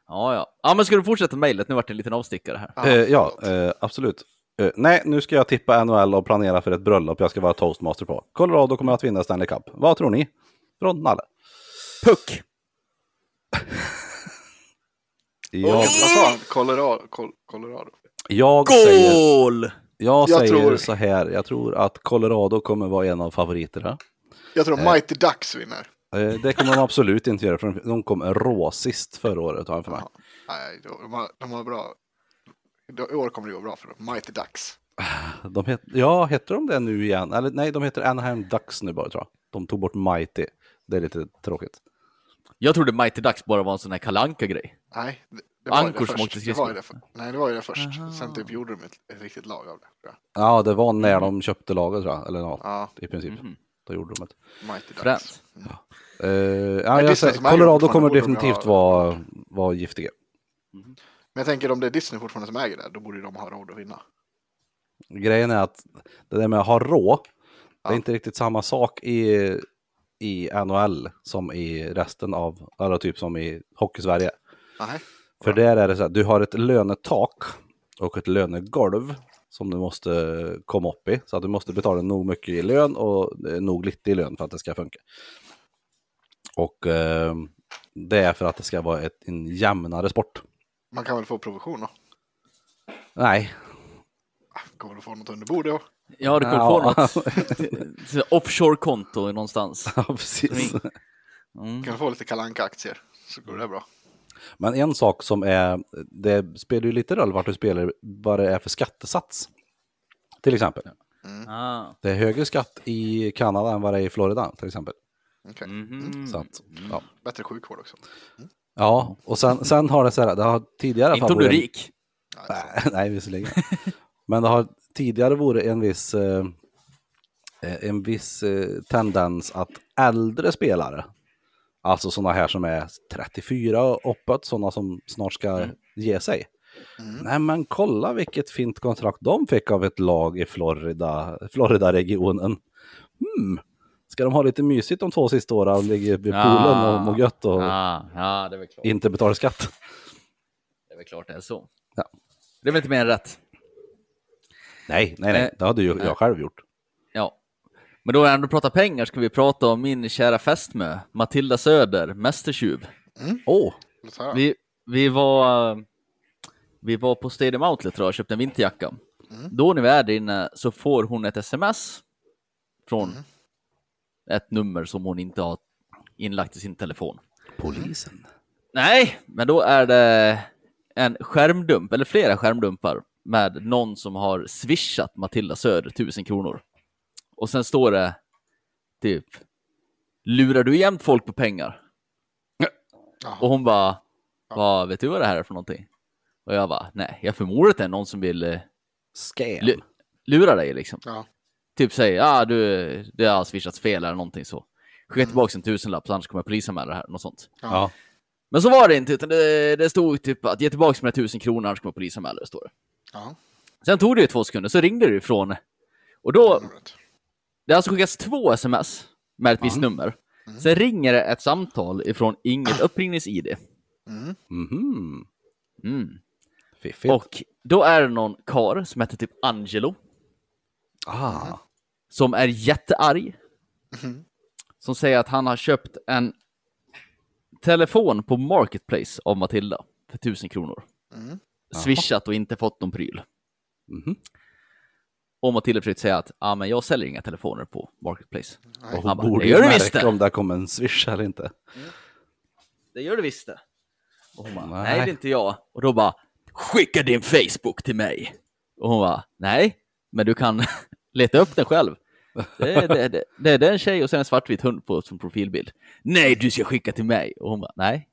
Speaker 1: Ja, ja. Ja, men ska du fortsätta mejlet? Nu vart det en liten avstickare här.
Speaker 2: Ja,
Speaker 3: Ja, eh, ja
Speaker 2: förlåt.
Speaker 3: eh, absolut. Eh, nej, nu ska jag tippa NHL och planera för ett bröllop jag ska vara toastmaster på. Colorado kommer att vinna Stanley Cup. Vad tror ni? Från Nalle.
Speaker 1: Puck!
Speaker 2: Och
Speaker 3: Jag,
Speaker 2: Vad sa han? Colorado? Col- Colorado.
Speaker 3: jag säger...
Speaker 1: Skål!
Speaker 2: Jag
Speaker 3: Jag, säger
Speaker 2: tror-
Speaker 3: så här, jag tror att Colorado kommer vara en av favoriterna.
Speaker 2: Jag tror
Speaker 3: Eh.
Speaker 2: Mighty Ducks vinner.
Speaker 3: Eh, Det kommer de absolut inte göra, för de- de kom råsist förra året, har jag för mig.
Speaker 2: Ja. Nej, de har, de har bra. I år kommer det gå bra för dem. Mighty Ducks.
Speaker 3: De het, ja, heter de det nu igen? Eller nej, de heter Anaheim Ducks nu bara tror jag. De tog bort Mighty. Det är lite tråkigt.
Speaker 1: Jag trodde Mighty Ducks bara var en sån här kalanka grej
Speaker 2: Nej, det, det var ju
Speaker 1: Ankor
Speaker 2: det
Speaker 1: som åkte
Speaker 2: först. Det
Speaker 1: skridskor.
Speaker 2: var ju det, för- nej, det var ju det först. Sen typ gjorde de ett, ett riktigt lag av det. tror jag.
Speaker 3: Ja, det var när de köpte laget tror jag. Eller ja,
Speaker 2: Mm. Ja, Mm.
Speaker 3: i princip.
Speaker 1: typ. Mhm.
Speaker 3: Då gjorde de det.
Speaker 2: Mighty Ducks.
Speaker 1: Fränt.
Speaker 3: Eh, ja, jag
Speaker 2: Disney
Speaker 3: säger,
Speaker 2: som äger
Speaker 3: Colorado
Speaker 2: fortfarande
Speaker 3: kommer
Speaker 2: borde de
Speaker 3: definitivt
Speaker 2: ha-
Speaker 3: vara, vara giftiga.
Speaker 2: Men jag tänker om det är Disney fortfarande som äger det, då borde ju de ha råd att vinna.
Speaker 3: Grejen är att det där med att ha rå, det
Speaker 2: Ja.
Speaker 3: är inte riktigt samma sak i, i NHL som i resten av, eller typ som i Hockeysverige.
Speaker 2: Nej,
Speaker 3: För där är det så här, du har ett lönetak och ett lönegolv som du måste komma upp i. Så att du måste betala nog mycket i lön och eh, nog lite i lön för att det ska funka. Och eh, det är för att det ska vara ett, en jämnare sport.
Speaker 2: man kan väl få provision då? Ah,
Speaker 3: Nej,
Speaker 2: Kommer du få något under bordet? då?
Speaker 1: Ja, du kommer få
Speaker 3: Ja.
Speaker 1: något. Sån här Offshore-konto någonstans.
Speaker 3: ja, precis.
Speaker 1: Mm.
Speaker 2: Kan du få lite kalanka aktier så går det bra.
Speaker 3: Men en sak som är, det spelar ju lite roll vart du spelar, vad det är för skattesats. Till exempel.
Speaker 1: Ah.
Speaker 3: Det är högre skatt i Kanada än vad det är i Florida till exempel.
Speaker 2: Okej.
Speaker 1: Mhm.
Speaker 3: Så att, ja.
Speaker 2: Bättre sjukvård också.
Speaker 3: Ja, och sen, sen har det så här, det har tidigare...
Speaker 1: Inte om du är
Speaker 3: varit-
Speaker 1: rik.
Speaker 2: Nej,
Speaker 3: Nej, visserligen. Men det har tidigare varit en viss, eh, en viss eh, tendens att äldre spelare, alltså sådana här som är 34 och uppåt, sådana som snart ska
Speaker 1: Mm.
Speaker 3: ge sig. Nej, men kolla vilket fint kontrakt de fick av ett lag i Florida, Florida-regionen. Hmm. Ska de ha lite mysigt de två sista åren och ligga vid poolen och må gött och
Speaker 1: Ja, Ah, ja, det är väl klart.
Speaker 3: inte betala skatt?
Speaker 1: Det är väl klart det är så.
Speaker 3: Ja.
Speaker 1: Det är väl inte mer än rätt.
Speaker 3: Nej, nej, nej,
Speaker 1: Eh,
Speaker 3: det hade ju jag själv gjort.
Speaker 1: Ja. Men då när du pratar pengar ska vi prata om min kära fästmö, Matilda Söder, mästertjuv.
Speaker 3: Åh, oh,
Speaker 2: Låt höra.
Speaker 1: Vi, vi, var, eh, vi var på Stadium Outlet tror jag, och köpte en vinterjacka. Då när vi är där inne så får hon ett sms från ett nummer som hon inte har inlagt i sin telefon.
Speaker 3: polisen.
Speaker 1: Nej, men då är det en skärmdump, eller flera skärmdumpar, med någon som har swishat Matilda Söder 1000 kronor. Och sen står det typ, lurar du jämt folk på pengar?
Speaker 2: Jaha.
Speaker 1: Och hon bara, vad vet du vad det här är för någonting? Och jag bara, nej, jag förmodar att det är någon som vill eh,
Speaker 3: Scam.
Speaker 1: lu- lura dig liksom.
Speaker 2: Ja.
Speaker 1: Typ säger, ah, du, det har swishats fel eller någonting så. Skicka tillbaka en tusenlapp, så annars kommer jag polisanmäla det här, något sånt.
Speaker 3: ja.
Speaker 1: Men så var det inte, utan det, det stod typ att ge tillbaka mina tusen kronor annars kommer polisanmäla det, står det.
Speaker 2: Ja.
Speaker 1: Sen tog det ju två sekunder, så ringde det ifrån. Och då,
Speaker 2: numret.
Speaker 1: det har alltså skickats två sms med ett visst nummer. Sen ringer det ett samtal ifrån inget uppringnings-id.
Speaker 3: Mhm.
Speaker 1: Mm.
Speaker 3: Fiffigt.
Speaker 1: Och då är det någon kar som heter typ Angelo,
Speaker 3: ah.
Speaker 1: som är jättearg. Som säger att han har köpt en telefon på Marketplace av Matilda för tusen kronor. Swishat och inte fått någon pryl.
Speaker 3: Mhm.
Speaker 1: Och Matilda försökte säga att ah, men jag säljer inga telefoner på Marketplace.
Speaker 3: Och
Speaker 1: Han
Speaker 3: hon
Speaker 1: bara,
Speaker 3: borde
Speaker 1: "Det
Speaker 3: ju
Speaker 1: gör du
Speaker 3: märka
Speaker 1: visst det."
Speaker 3: om det kom en swish eller inte.
Speaker 1: Det gör du visst det. Och hon bara, nej.
Speaker 3: Nej.
Speaker 1: det är inte jag. Och då bara, skicka din Facebook till mig. Och hon bara, nej, men du kan leta upp den själv. Det är, det, det, det är den tjej och sen en svartvit hund på som profilbild. Nej, du ska skicka till mig. Och hon bara, nej.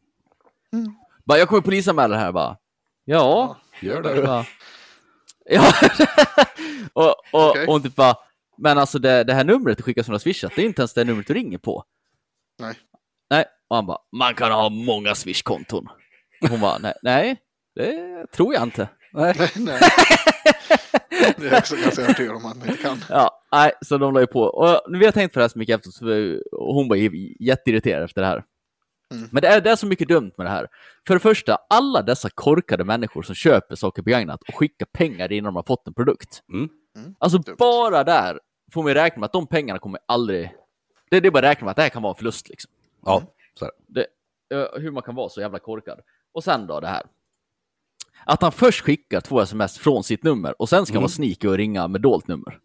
Speaker 1: Bara, jag kommer polisanmäla det här bara. Ja,
Speaker 3: Gör
Speaker 1: Jag bara, Ja, och, och,
Speaker 2: Okej.
Speaker 1: och hon typ bara, men alltså det, det här numret du skickar som du har swishat, det är inte ens det numret du ringer på.
Speaker 2: Nej.
Speaker 1: Nej, och han bara, man kan ha många swishkonton. Och hon bara, nej, nej, det tror jag inte.
Speaker 2: Nej, nej. Det är jag också ganska övertygad om att man inte kan.
Speaker 1: Ja, nej, så de la ju på. Och nu har jag tänkt på det här så mycket efter, så hon var ju jätteirriterad efter det här. Men det är, det är så mycket dumt med det här. För det första, alla dessa korkade människor som köper saker begagnat och skickar pengar innan de har fått en produkt.
Speaker 3: Mm.
Speaker 1: Alltså
Speaker 2: Dumt.
Speaker 1: bara där får man ju räkna med att de pengarna kommer aldrig... Det, det är bara att räkna med att det här kan vara en förlust liksom.
Speaker 3: Ja, så här.
Speaker 1: Det, eh, hur man kan vara så jävla korkad. Och sen då det här. Att han först skickar två sms från sitt nummer och sen ska han vara sneaky och ringa med dolt nummer.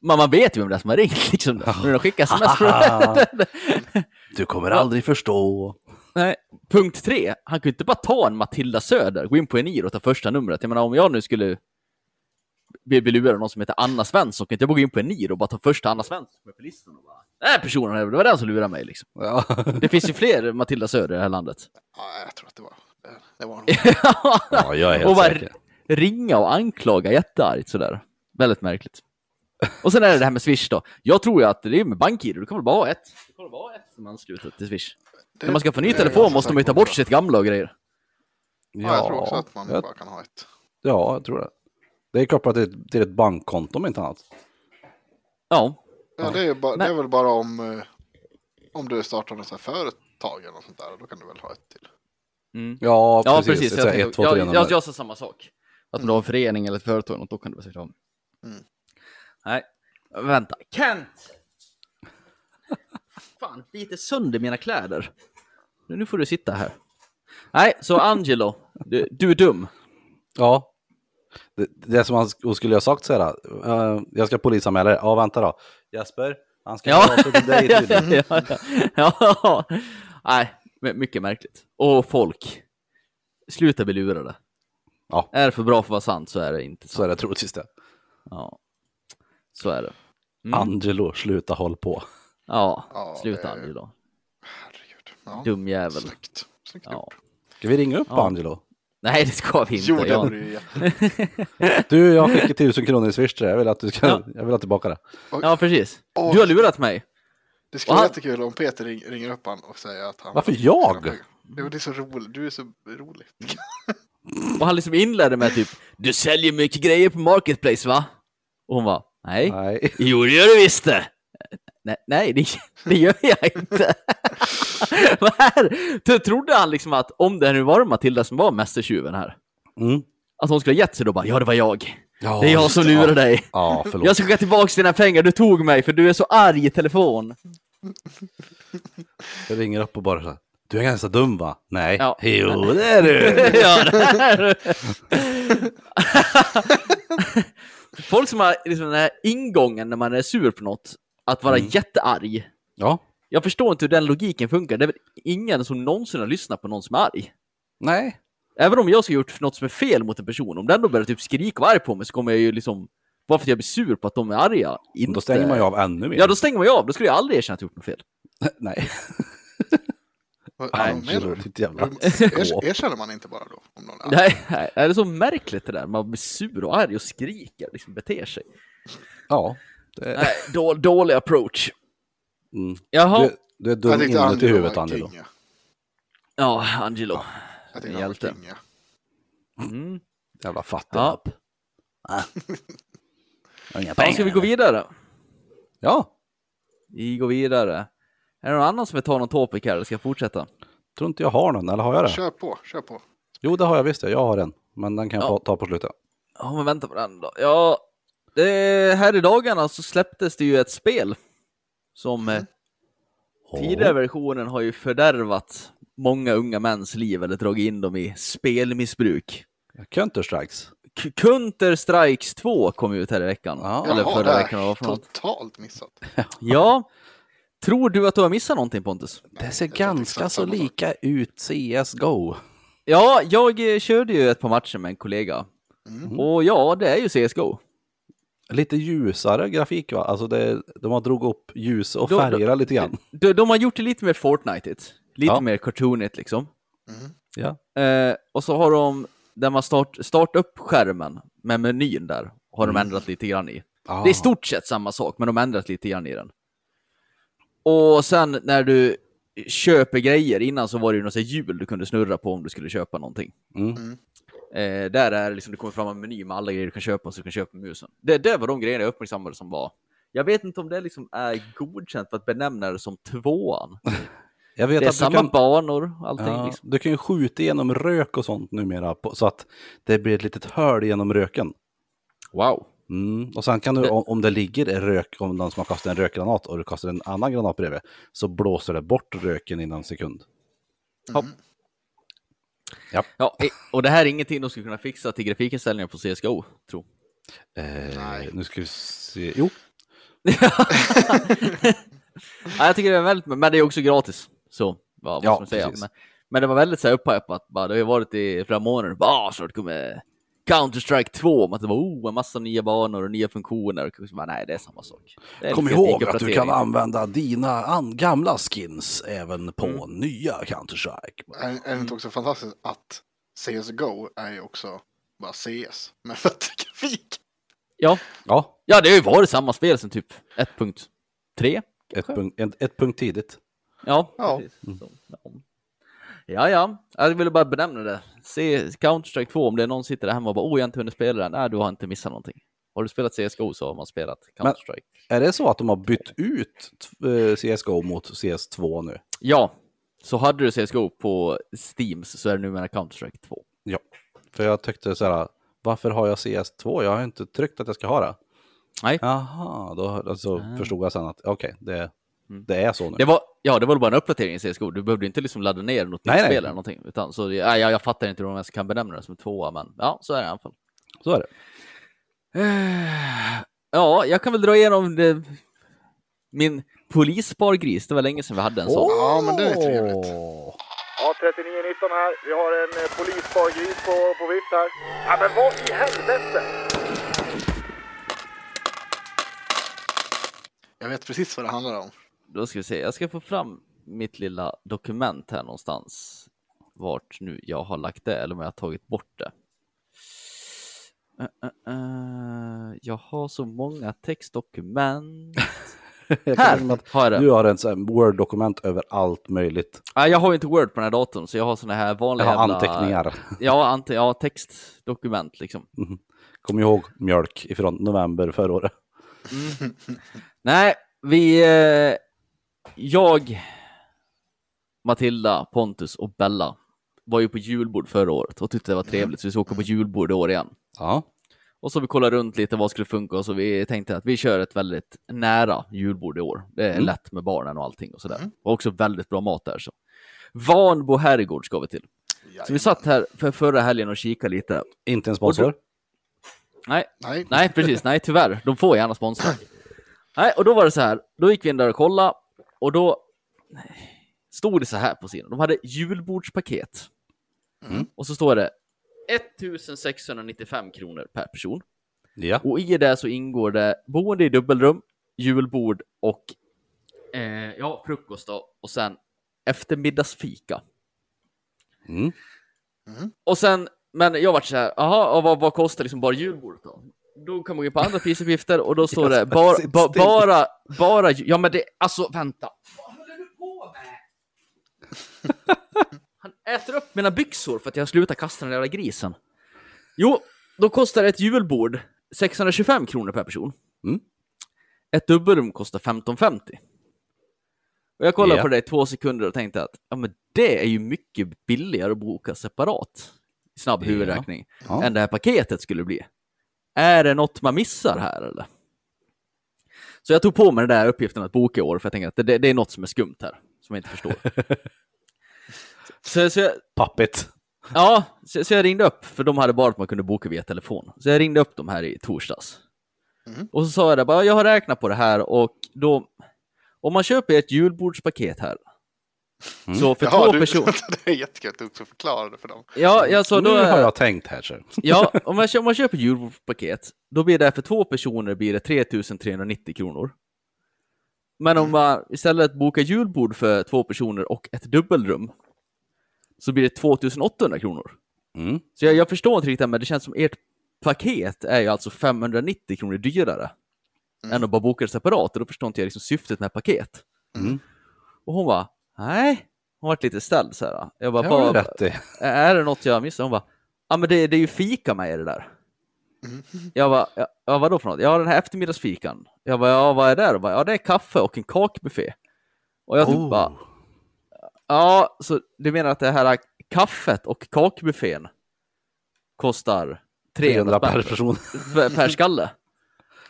Speaker 1: Men man vet ju vem det är som har ringt liksom. När de skickar sms från...
Speaker 3: Du kommer aldrig förstå.
Speaker 1: Nej. Punkt tre, han kunde inte bara ta en Matilda Söder, gå in på Eniro och ta första numret. Jag menar om jag nu skulle bli bli lurad av någon som heter Anna Svensson, kan inte jag bara gå in på Eniro och bara ta första Anna Svensson som är på listan och bara, den här personen, det var den som lurade mig liksom.
Speaker 3: Ja.
Speaker 1: Det finns ju fler Matilda Söder i det här landet.
Speaker 2: Ja, jag tror att det var... Det var nog.
Speaker 3: ja, jag är helt
Speaker 1: och bara
Speaker 3: säker.
Speaker 1: ringa och anklaga jätteargt sådär. Väldigt märkligt. Och sen är det det här med Swish då. Jag tror ju att det är med BankID, det kommer bara vara ett. Det kommer bara vara ett som anslutet till Swish.
Speaker 2: Det-
Speaker 1: När man ska få
Speaker 2: det
Speaker 1: ny
Speaker 2: är
Speaker 1: telefon
Speaker 2: jag
Speaker 1: måste man ju ta
Speaker 2: säker
Speaker 1: bort
Speaker 2: på.
Speaker 1: sitt gamla och grejer.
Speaker 2: Ja, jag tror också att man
Speaker 3: jag,
Speaker 2: bara kan ha ett.
Speaker 3: ja, jag tror det. Det är kopplat till, till ett bankkonto om inte annat.
Speaker 1: Ja,
Speaker 2: Ja, det, är ju bara, det
Speaker 1: Nej.
Speaker 2: är väl bara om, eh, om du startar något så här företag eller något sånt där. Då kan du väl ha ett till.
Speaker 3: Ja,
Speaker 1: ja
Speaker 3: precis.
Speaker 1: precis.
Speaker 3: Ett, så
Speaker 1: Jag,
Speaker 3: här,
Speaker 1: tänkte-
Speaker 3: ett, två,
Speaker 1: jag,
Speaker 3: tre
Speaker 1: jag,
Speaker 3: nummer.
Speaker 1: jag, sa samma sak. Att om du har en förening eller ett företag, eller något, då kan du väl säkert ha det.
Speaker 2: Mm.
Speaker 1: Nej, vänta. Kent! Fan, biter sönder mina kläder. Nu nu får du sitta här. Nej, så Angelo, du, du är dum.
Speaker 3: Ja. Det, det som han sk- skulle ha sagt så här, eh, jag ska polisanmäla det. Ja, vänta då. Jesper, han ska
Speaker 1: Ja.
Speaker 3: ja. till dig
Speaker 1: ja,
Speaker 3: tydligen.
Speaker 1: ja, ja. ja. Nej, men mycket märkligt. Och folk. Sluta bli lurade.
Speaker 3: Ja.
Speaker 1: Är det för bra för att vara sant så är det inte
Speaker 3: Så
Speaker 1: sant.
Speaker 3: är det troligtvis det.
Speaker 1: Ja. Så är det.
Speaker 3: Mm.
Speaker 1: Mm.
Speaker 3: Angelo, sluta håll på.
Speaker 1: Ja,
Speaker 2: Ja, eh, det
Speaker 1: sluta
Speaker 2: är-
Speaker 1: Angelo.
Speaker 2: Herregud. Ja,
Speaker 1: Dum jävel.
Speaker 2: Snyggt. Snyggt
Speaker 1: Ja.
Speaker 2: gjort.
Speaker 3: Ska vi ringa upp
Speaker 1: Ja.
Speaker 3: Angelo?
Speaker 1: Nej, det ska vi inte.
Speaker 2: Jo, det
Speaker 1: Jag-
Speaker 2: vore ju jätte...
Speaker 3: Du, jag fick 1000 kronor i swish till dig. jag vill att du ska,
Speaker 1: Ja.
Speaker 3: jag vill ha tillbaka det.
Speaker 1: Ja, precis.
Speaker 2: Oj.
Speaker 1: Du har lurat mig.
Speaker 2: Det skulle
Speaker 1: Och
Speaker 2: vara
Speaker 1: han-
Speaker 2: jättekul om Peter ring, ringer upp han och säger att han...
Speaker 3: Varför jag?
Speaker 2: Jo, det är så roligt. Du är så rolig.
Speaker 1: Och han liksom inledde med typ, du säljer mycket grejer på Marketplace va? Och hon var, nej.
Speaker 3: Nej.
Speaker 1: Jo, det gör du visst det! Nej, nej det, det gör jag inte. Vad här? Då Trodde han liksom att om det nu var Matilda som var mästertjuven här,
Speaker 3: Mm.
Speaker 1: att hon skulle ha gett sig då bara, ja det var jag.
Speaker 3: Ja,
Speaker 1: Det är jag som
Speaker 3: just det.
Speaker 1: lurar dig.
Speaker 3: Ja, förlåt.
Speaker 1: Jag ska skicka tillbaka dina pengar, du tog mig för du är så arg i telefon.
Speaker 3: Jag ringer upp och bara så här, du är ganska dum va? Nej.
Speaker 1: Ja.
Speaker 3: Jo, det är du.
Speaker 1: ja, det här. Folk som har liksom den här ingången när man är sur på något, att vara jättearg.
Speaker 3: Ja.
Speaker 1: Jag förstår inte hur den logiken funkar. Det är väl ingen som någonsin har lyssnat på någon som är arg.
Speaker 3: Nej.
Speaker 1: Även om jag ska ha gjort något som är fel mot en person, om den då börjar typ skrika och vara arg på mig så kommer jag ju liksom, bara för att jag blir sur på att de är arga, inte...
Speaker 3: Då stänger man ju av ännu mer.
Speaker 1: Ja, då stänger man ju av. Då skulle jag aldrig erkänna att jag gjort något fel.
Speaker 3: Nej.
Speaker 2: Vad vad menar du?
Speaker 3: Angelo, ditt jävla...
Speaker 1: Mm.
Speaker 2: Er, erkänner man inte bara då? Om någon är
Speaker 1: Nej, nej, det är så märkligt det där. Man blir sur och arg och skriker, liksom beter sig.
Speaker 3: Ja. Det...
Speaker 1: Nej, då, dålig approach.
Speaker 3: Mm.
Speaker 1: Jaha.
Speaker 3: Du, du är dum inuti
Speaker 2: Angelo
Speaker 3: huvudet
Speaker 2: var
Speaker 3: Angelo.
Speaker 2: king, ja.
Speaker 1: Ja, Angelo.
Speaker 2: Jag tyckte han var
Speaker 1: Hjälte.
Speaker 2: king, ja.
Speaker 1: Mm.
Speaker 3: Jävla fattig.
Speaker 1: Ja.
Speaker 3: Jag har inga
Speaker 1: Ja, ska vi gå vidare?
Speaker 3: Ja,
Speaker 1: Vi går vidare. Är det någon annan som vill ta någon topic här, eller ska jag fortsätta?
Speaker 3: tror inte jag har någon, eller har jag det?
Speaker 2: Kör på, kör på.
Speaker 3: Jo, det har jag visst, ja. jag har en. Men den kan jag
Speaker 1: Ja.
Speaker 3: ta- ta på slutet.
Speaker 1: Ja, men vänta på den då. Ja, det, här i dagarna så släpptes det ju ett spel som eh, tidigare versionen har ju fördärvat många unga mäns liv eller dragit in dem i spelmissbruk.
Speaker 3: Counter-strikes.
Speaker 1: K- Counter Strikes 2 kom ut här i veckan.
Speaker 3: Ja.
Speaker 1: eller
Speaker 2: Jaha,
Speaker 1: förra
Speaker 2: det
Speaker 1: veckan. eller
Speaker 2: har
Speaker 1: vad för något.
Speaker 2: totalt missat.
Speaker 1: Ja. Tror du att du har missat någonting Pontus?
Speaker 3: Det ser
Speaker 2: jag tänkte ganska exakt så samma sak. lika
Speaker 3: ut CSGO.
Speaker 1: Ja, jag eh, körde ju ett par matcher med en kollega.
Speaker 2: Mm.
Speaker 1: Och ja, det är ju CSGO.
Speaker 3: Lite ljusare grafik va? Alltså det, de har drog upp ljus och
Speaker 1: Då- då-
Speaker 3: färgerna lite grann.
Speaker 1: De, de har gjort det lite mer Fortnite-igt. Lite
Speaker 3: Ja.
Speaker 1: mer cartoonigt liksom.
Speaker 2: Mm.
Speaker 3: Ja.
Speaker 1: Eh, och så har de, där man start, startar upp skärmen med menyn där, har
Speaker 3: Mm.
Speaker 1: de ändrat lite grann i. Det är i stort sett samma sak, men de har ändrat lite grann i den. Och sen när du köper grejer, innan så var det ju något så här hjul du kunde snurra på om du skulle köpa någonting.
Speaker 3: Mm.
Speaker 2: Mm.
Speaker 1: Eh, där är det liksom, det kommer fram en meny med alla grejer du kan köpa, så du kan köpa med musen. Det, det var de grejerna jag uppmärksammade som var. Jag vet inte om det liksom är godkänt för att benämna det som tvåan.
Speaker 3: Jag vet
Speaker 1: Det är
Speaker 3: att du
Speaker 1: samma
Speaker 3: kan,
Speaker 1: banor, allting
Speaker 3: ja,
Speaker 1: liksom.
Speaker 3: du kan ju skjuta igenom rök och sånt numera på, så att det blir ett litet hål genom röken.
Speaker 1: Wow.
Speaker 3: Mm. Och sen kan du,
Speaker 1: Det-
Speaker 3: om, om det ligger en rök, om någon som har kastat en rökgranat och du kastar en annan granat bredvid, så blåser det bort röken inom en sekund.
Speaker 1: Ja, i- och det här är ingenting de skulle kunna fixa till grafikinställningar på CSGO, tro.
Speaker 3: Eh,
Speaker 2: Nej.
Speaker 3: Nu ska vi se. Jo,
Speaker 1: ja, jag tycker det är väldigt, men det är också gratis. Så, ja, vad
Speaker 3: Ja,
Speaker 1: ska man säga?
Speaker 3: precis.
Speaker 1: Men, men det var väldigt så här upphypat, bara, det har ju varit i flera månader, bara "Ah, snart kommer Counter-Strike 2, om att det var oh, en massa nya banor och nya funktioner. Och så bara, nej, det är samma sak. Det är
Speaker 3: kom
Speaker 1: lite
Speaker 3: ihåg att du
Speaker 1: teknikuppdatering.
Speaker 3: kan använda dina an- gamla skins även på nya Counter-Strike.
Speaker 2: Är, är det inte också fantastiskt att CSGO är ju också bara CS med bättre grafik?
Speaker 1: Ja,
Speaker 3: Ja,
Speaker 1: ja, det har ju varit samma spel sen typ 1.3.
Speaker 3: ett punkt, ett, ett punkt tidigt.
Speaker 1: Ja,
Speaker 2: Ja.
Speaker 1: precis. Så, ja. Ja, ja, jag ville bara benämna det. Se Counter-Strike 2, om det är någon som sitter där hemma och bara, oh, jag har inte hunnit spela den. Nej, du har inte missat någonting. Har du spelat CSGO så har man spelat Counter-Strike.
Speaker 3: Är det så att de har bytt ut eh, CSGO mot CS2 nu?
Speaker 1: Ja, så hade du CSGO på Steams så är det numera Counter-Strike 2.
Speaker 3: Ja, för jag tyckte så här, varför har jag CS2? Jag har inte tryckt att jag ska ha det.
Speaker 1: Nej. Ah.
Speaker 3: Jaha, då alltså, förstod jag sen att okej, det, det är så nu.
Speaker 1: Mm. Det var, ja, det var bara en uppdatering i CSGO. Du behövde inte liksom ladda ner något
Speaker 3: Nej,
Speaker 1: nytt
Speaker 3: nej.
Speaker 1: spel eller någonting. Utan, så, ja, jag, jag fattar inte hur man ens kan benämna det som tvåa, men ja, så är det i alla fall.
Speaker 3: Så är det.
Speaker 1: Eh, Ja, jag kan väl dra igenom det. min polisspargris. Det var länge sedan vi hade en sån.
Speaker 2: Ja, men det är trevligt.
Speaker 3: Åh.
Speaker 5: Ja, 3919 här. Vi har en eh, polisspargris på, på vift här. Ja, men vad i helvete!
Speaker 2: Jag vet precis vad det handlar om.
Speaker 1: Då ska vi se, jag ska få fram mitt lilla dokument här någonstans. Vart nu jag har lagt det eller om jag har tagit bort det. Eh, eh, eh, Jag har så många textdokument. här har jag det.
Speaker 3: Du har en sån här Word-dokument över allt möjligt.
Speaker 1: Nej, jag har ju inte Word på den här datorn så jag har såna här vanliga
Speaker 3: Jag har
Speaker 1: jävla-
Speaker 3: anteckningar.
Speaker 1: Ja, ante... ja, textdokument liksom.
Speaker 3: Kom ihåg mjölk ifrån november förra året.
Speaker 1: Nej, vi... Eh, jag, Matilda, Pontus och Bella var ju på julbord förra året och tyckte det var trevligt, så vi ska åka på julbord i år igen.
Speaker 3: Ja.
Speaker 1: Och så vi kollade runt lite vad skulle funka och så vi tänkte att vi kör ett väldigt nära julbord i år. Det är
Speaker 3: Mm.
Speaker 1: lätt med barnen och allting och sådär. Och också väldigt bra mat där. Så. Vanbo herrgård ska vi till. Så vi satt här för förra helgen och kikade lite.
Speaker 3: Inte en sponsor.
Speaker 1: Nej,
Speaker 2: Nej.
Speaker 1: Nej, precis. Nej, tyvärr. De får gärna sponsra. Nej, och då var det så här. Då gick vi in där och kollade och då stod det så här på sidan. De hade julbordspaket. Och så står det 1695 kronor per person.
Speaker 3: Ja.
Speaker 1: Och i det så ingår det boende i dubbelrum, julbord och eh, ja, frukost då. och sen eftermiddagsfika.
Speaker 3: Mm.
Speaker 1: Och sen, men jag vart så här, jaha, och vad, vad kostar liksom bara julbordet då? Då kan man gå på andra prisuppgifter och då står det
Speaker 3: Jag
Speaker 1: bara,
Speaker 3: sitter
Speaker 1: ba,
Speaker 3: still.
Speaker 1: bara, bara, ju- ja men det, alltså vänta. Vad håller du på med? Han äter upp mina byxor för att jag slutar kasta den där jävla grisen. Jo, då kostar ett julbord 625 kronor per person.
Speaker 3: Mm.
Speaker 1: Ett dubbelrum kostar 1550. Och jag kollade
Speaker 3: Ja.
Speaker 1: på det i två sekunder och tänkte att ja, men det är ju mycket billigare att boka separat. Snabb
Speaker 3: Ja.
Speaker 1: huvudräkning.
Speaker 3: Ja.
Speaker 1: Än det här paketet skulle bli. Är det något man missar här eller? Så jag tog på mig den där uppgiften att boka i år för jag tänkte att det- det, det är något som är skumt här. Som jag inte förstår. så, så, jag,
Speaker 3: Pappigt.
Speaker 1: Ja, så, så jag ringde upp, för de hade bara att man kunde boka via telefon. Så jag ringde upp dem här i torsdags.
Speaker 3: Mm.
Speaker 1: Och så sa jag det, bara, jag har räknat på det här och då, om man köper ett julbordspaket här,
Speaker 3: Mm.
Speaker 1: så för två personer,
Speaker 2: det är jättekul att du också förklarade för dem.
Speaker 1: ja, jag sa då,
Speaker 3: nu har jag tänkt här. Så.
Speaker 1: ja, om man, kö- om man köper julbordspaket, då blir det för två personer blir det 3390 kronor. Men om man istället bokar julbord för två personer och ett dubbelrum, så blir det 2800 kronor.
Speaker 3: Mm.
Speaker 1: Så jag, jag förstår inte riktigt, det här, men det känns som ert paket är ju alltså 590 kronor dyrare än att bara boka det separat. Och då förstår inte jag liksom syftet med paket.
Speaker 3: Mm.
Speaker 1: Och hon bara, nej. Hon vart lite ställd så här. Jag bara,
Speaker 3: Det har du
Speaker 1: "Vad-
Speaker 3: rätt i.
Speaker 1: är det något jag missar? Hon bara, ja men det, det är ju fika med i det där. Jag bara, ja, ja vadå för något? Ja den här eftermiddagsfikan. Jag bara, ja vad är det? Hon bara, ja det är kaffe och en kakbuffé. Och jag typ
Speaker 3: Oh.
Speaker 1: bara, ja så du menar att det här kaffet och kakbuffén kostar 300,
Speaker 3: 300 per
Speaker 1: spänn
Speaker 3: person.
Speaker 1: per, per skalle?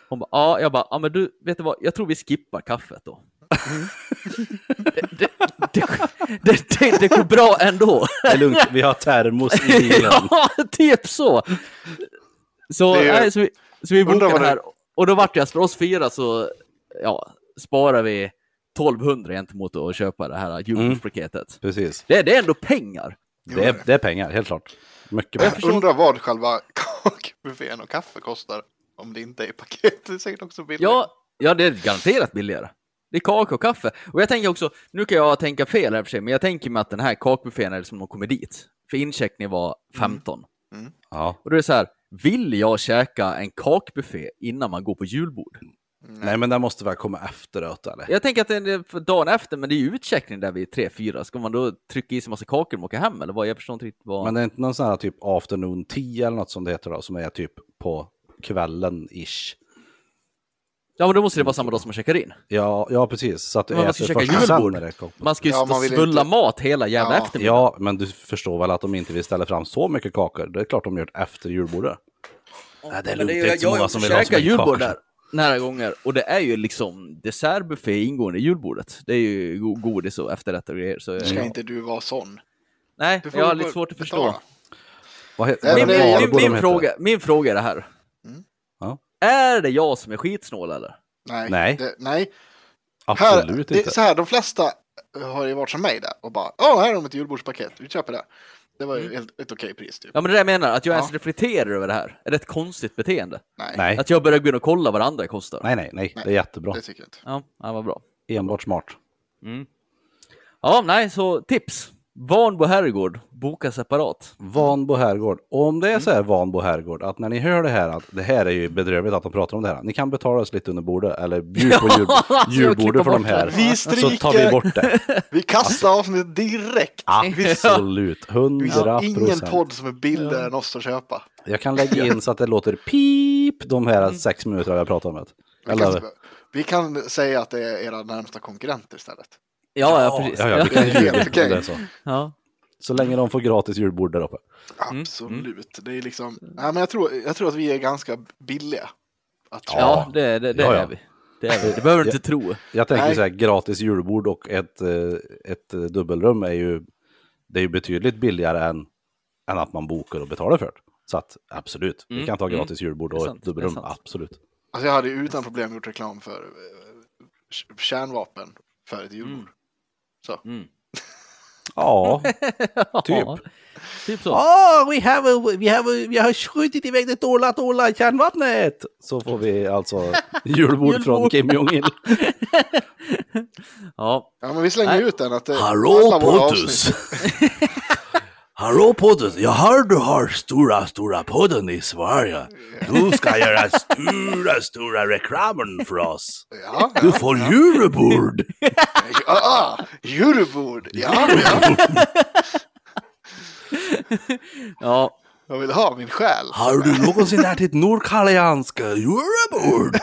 Speaker 1: Hon bara, ja jag bara, ja men du vet du vad, jag tror vi skippar kaffet då. Det, det, det, det, det går bra ändå.
Speaker 3: Det är lugnt, vi har termos i bilen.
Speaker 1: ja, typ så. Så,
Speaker 2: Det är ju-
Speaker 1: nej, så, vi, så vi
Speaker 2: Undrar
Speaker 1: bokade
Speaker 2: vad
Speaker 1: det
Speaker 2: det-
Speaker 1: här. Och då vart det att för oss fyra så ja, sparar vi 1200 gentemot att köpa det här julpaketet.
Speaker 2: Mm.
Speaker 3: Precis.
Speaker 1: Det, det är ändå pengar.
Speaker 3: Det är, det är pengar, helt klart. Mycket
Speaker 2: Jag
Speaker 3: pengar.
Speaker 2: undrar vad själva kakbuffén och kaffe kostar. Om det inte är paket. Det är säkert också billigt.
Speaker 1: Ja, ja, det är garanterat billigare. Det är kaka och kaffe. Och jag tänker också, nu kan jag tänka fel här för sig, men jag tänker mig att den här kakbuffén är som de kommer dit. För incheckning var 15.
Speaker 2: Mm.
Speaker 3: Ja.
Speaker 1: Och då är det så här, vill jag käka en kakbuffé innan man går på julbord?
Speaker 3: Nej, men det måste väl komma efteråt, eller?
Speaker 1: Jag tänker att det är för dagen efter, men det är ju utcheckning där vid 3-4. Ska man då trycka i sig massa kakor och åka hem eller vad? Jag förstår inte riktigt vad...
Speaker 3: Men det är inte någon sån här typ afternoon 10 eller något som det heter då, som är typ på kvällen-ish.
Speaker 1: Ja, men då måste det vara samma dag som man checkar in.
Speaker 3: Ja, ja, precis. Så att du
Speaker 1: Men man ska
Speaker 3: äter
Speaker 1: käka
Speaker 3: först och sen
Speaker 1: julbord.
Speaker 3: när det kom.
Speaker 1: Man ska ju
Speaker 2: Ja,
Speaker 1: stå
Speaker 2: man
Speaker 1: och
Speaker 2: vill
Speaker 1: svulla
Speaker 2: inte-
Speaker 1: mat hela jävla
Speaker 2: Ja.
Speaker 1: eftermiddagen.
Speaker 3: Ja, men du förstår väl att de inte vill ställa fram så mycket kakor. Det är klart de gör det efter julbordet. Nej, det är
Speaker 1: Men
Speaker 3: lugnt.
Speaker 1: det
Speaker 3: Det
Speaker 1: är
Speaker 3: är
Speaker 1: ju,
Speaker 3: inte så
Speaker 1: jag har
Speaker 3: många
Speaker 1: också
Speaker 3: som vill ha så
Speaker 1: käkat
Speaker 3: mycket kakor.
Speaker 1: julbord
Speaker 3: Där.
Speaker 1: där några gånger och det är ju liksom dessertbuffé ingående i julbordet. Det är ju go- godis och efterrätter och grejer. Så,
Speaker 2: Ska
Speaker 1: ja.
Speaker 2: inte du vara sån?
Speaker 1: Nej,
Speaker 2: Du får
Speaker 1: jag har
Speaker 2: väl
Speaker 1: lite
Speaker 2: bara
Speaker 1: svårt att förstå.
Speaker 2: betala.
Speaker 3: Vad heter
Speaker 2: Nej,
Speaker 1: Min,
Speaker 2: men det är-
Speaker 3: Valbo
Speaker 1: min,
Speaker 3: de
Speaker 1: min,
Speaker 3: heter. Mm.
Speaker 1: fråga, min fråga är det här.
Speaker 3: Ja.
Speaker 1: Är det jag som är skitsnål eller?
Speaker 2: Nej.
Speaker 3: Nej.
Speaker 2: Det, nej. Här,
Speaker 3: Absolut
Speaker 2: det, är
Speaker 3: inte.
Speaker 2: så här, de flesta har ju varit som mig där och bara Åh, här har de ett julbordspaket, vi köper det. Det var ju helt, ett okej pris typ.
Speaker 1: Ja, men det är det jag menar, att jag
Speaker 2: Ja.
Speaker 1: ens reflekterar över det här. Är det ett konstigt beteende?
Speaker 2: Nej,
Speaker 3: Nej.
Speaker 1: Att jag börjar gå in och kolla vad det andra kostar?
Speaker 3: nej, nej, nej. Det är jättebra.
Speaker 2: det tycker jag inte.
Speaker 1: Ja, ja vad bra.
Speaker 3: Enbart smart.
Speaker 1: Ja, nej, så tips. Vanbo herrgård, boka separat.
Speaker 3: Vanbo herrgård. Och om
Speaker 2: Mm.
Speaker 3: det är så här Vanbo herrgård, att när ni hör det här, att det här är ju bedrövligt att de pratar om det här. Ni kan betala oss lite under bordet, eller bjud på jul,
Speaker 1: Ja, alltså, klippa
Speaker 3: julbordet för de
Speaker 1: bort
Speaker 3: här.
Speaker 1: det.
Speaker 2: Vi
Speaker 3: Så tar vi
Speaker 2: stryker.
Speaker 3: bort det.
Speaker 2: Vi kastar avsnittet direkt.
Speaker 3: Absolut.
Speaker 2: Det
Speaker 3: Hundra
Speaker 2: finns ingen
Speaker 3: procent.
Speaker 2: podd som är billigare än oss att köpa.
Speaker 3: Jag kan lägga in så att det låter pip de
Speaker 2: Mm.
Speaker 3: här sex minuterna jag pratar om det.
Speaker 2: Vi
Speaker 3: Jag love
Speaker 2: kan,
Speaker 3: it.
Speaker 2: vi kan säga att det är era närmsta konkurrenter istället.
Speaker 1: Ja, ja, precis.
Speaker 3: Ja, ja, vi kan
Speaker 2: Ja.
Speaker 3: ljuga om
Speaker 2: Okej.
Speaker 3: det är så.
Speaker 1: Ja.
Speaker 3: Så länge de får gratis julbord där uppe.
Speaker 2: Absolut. Det är liksom, ja, men jag, tror, jag tror att vi är ganska billiga. Att
Speaker 3: Ja.
Speaker 1: Ja, det, det, det
Speaker 3: Ja, ja.
Speaker 1: är vi. Det, är vi. det behöver du inte tro.
Speaker 3: Jag tänker
Speaker 2: Nej.
Speaker 3: så här, gratis julbord och ett, eh, ett eh, dubbelrum är ju, det är ju betydligt billigare än, än att man bokar och betalar för det. Så att absolut, vi kan ta gratis julbord
Speaker 1: Mm, Det är
Speaker 3: och
Speaker 1: sant,
Speaker 3: ett dubbelrum,
Speaker 1: det är sant.
Speaker 3: absolut.
Speaker 2: Alltså jag hade ju utan problem gjort reklam för eh, k- kärnvapen för ett julbord. Så.
Speaker 3: Ja, typ.
Speaker 1: Ja, typ så.
Speaker 3: Oh, we have a, we have a, vi har skjutit iväg det dåliga, dåliga kärnvapnet! Så får vi alltså julbord från
Speaker 1: Julbord.
Speaker 3: Kim Jong-Il.
Speaker 1: Ja.
Speaker 2: Ja, men vi slänger
Speaker 1: Nej.
Speaker 2: ut den att det, alla våra avsnitt.
Speaker 3: Hallå Pontus! Jag hör du har stora, stora podden i Sverige. Du ska göra stora, stora reklamen för oss.
Speaker 2: Ja,
Speaker 3: Du får julbord!
Speaker 2: ja, ja, julbord. ah, Ja, ja.
Speaker 1: ja.
Speaker 2: jag vill ha min själ.
Speaker 3: Har du någonsin ätit nordkoreanska julbord?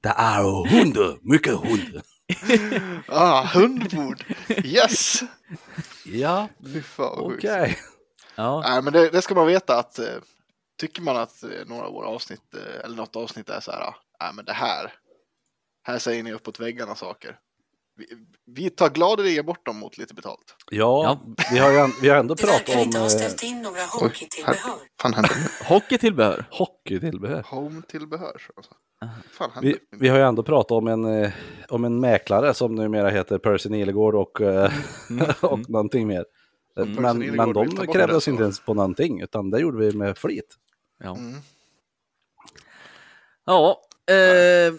Speaker 3: Det är hund, mycket hund.
Speaker 2: Ah, hundbord. Yes!
Speaker 3: Ja,
Speaker 2: Fy fan vad sjukt.
Speaker 3: okej.
Speaker 1: ja.
Speaker 2: Nej, men det, det ska man veta att eh, tycker man att eh, några av våra avsnitt eh, eller något avsnitt är så här, ah, nej men det här, här säger ni uppåt väggarna saker. Vi, vi tar gladeligen bort dem mot lite betalt.
Speaker 3: Ja, vi har, ju en- vi har ändå
Speaker 6: Du
Speaker 3: pratat
Speaker 6: verkar
Speaker 3: om
Speaker 6: inte ha
Speaker 3: eh,
Speaker 6: ställt in några hockeytillbehör.
Speaker 2: fan hände nu?
Speaker 1: Hockeytillbehör.
Speaker 3: hockeytillbehör.
Speaker 2: Home-tillbehör. så alltså. Fan hände?
Speaker 3: Vi, vi har ju ändå pratat om en, eh, om en mäklare som numera heter Percy Nilegård och, eh, och
Speaker 1: Mm.
Speaker 3: någonting mer.
Speaker 2: Mm.
Speaker 3: Eh,
Speaker 2: Percy
Speaker 3: Men, men
Speaker 2: Nilegård vill ta
Speaker 3: de
Speaker 2: bort
Speaker 3: krävde
Speaker 2: det,
Speaker 3: oss
Speaker 2: så.
Speaker 3: inte ens på någonting, utan det gjorde vi med flit.
Speaker 1: Ja.
Speaker 2: Mm.
Speaker 1: Ja. Eh,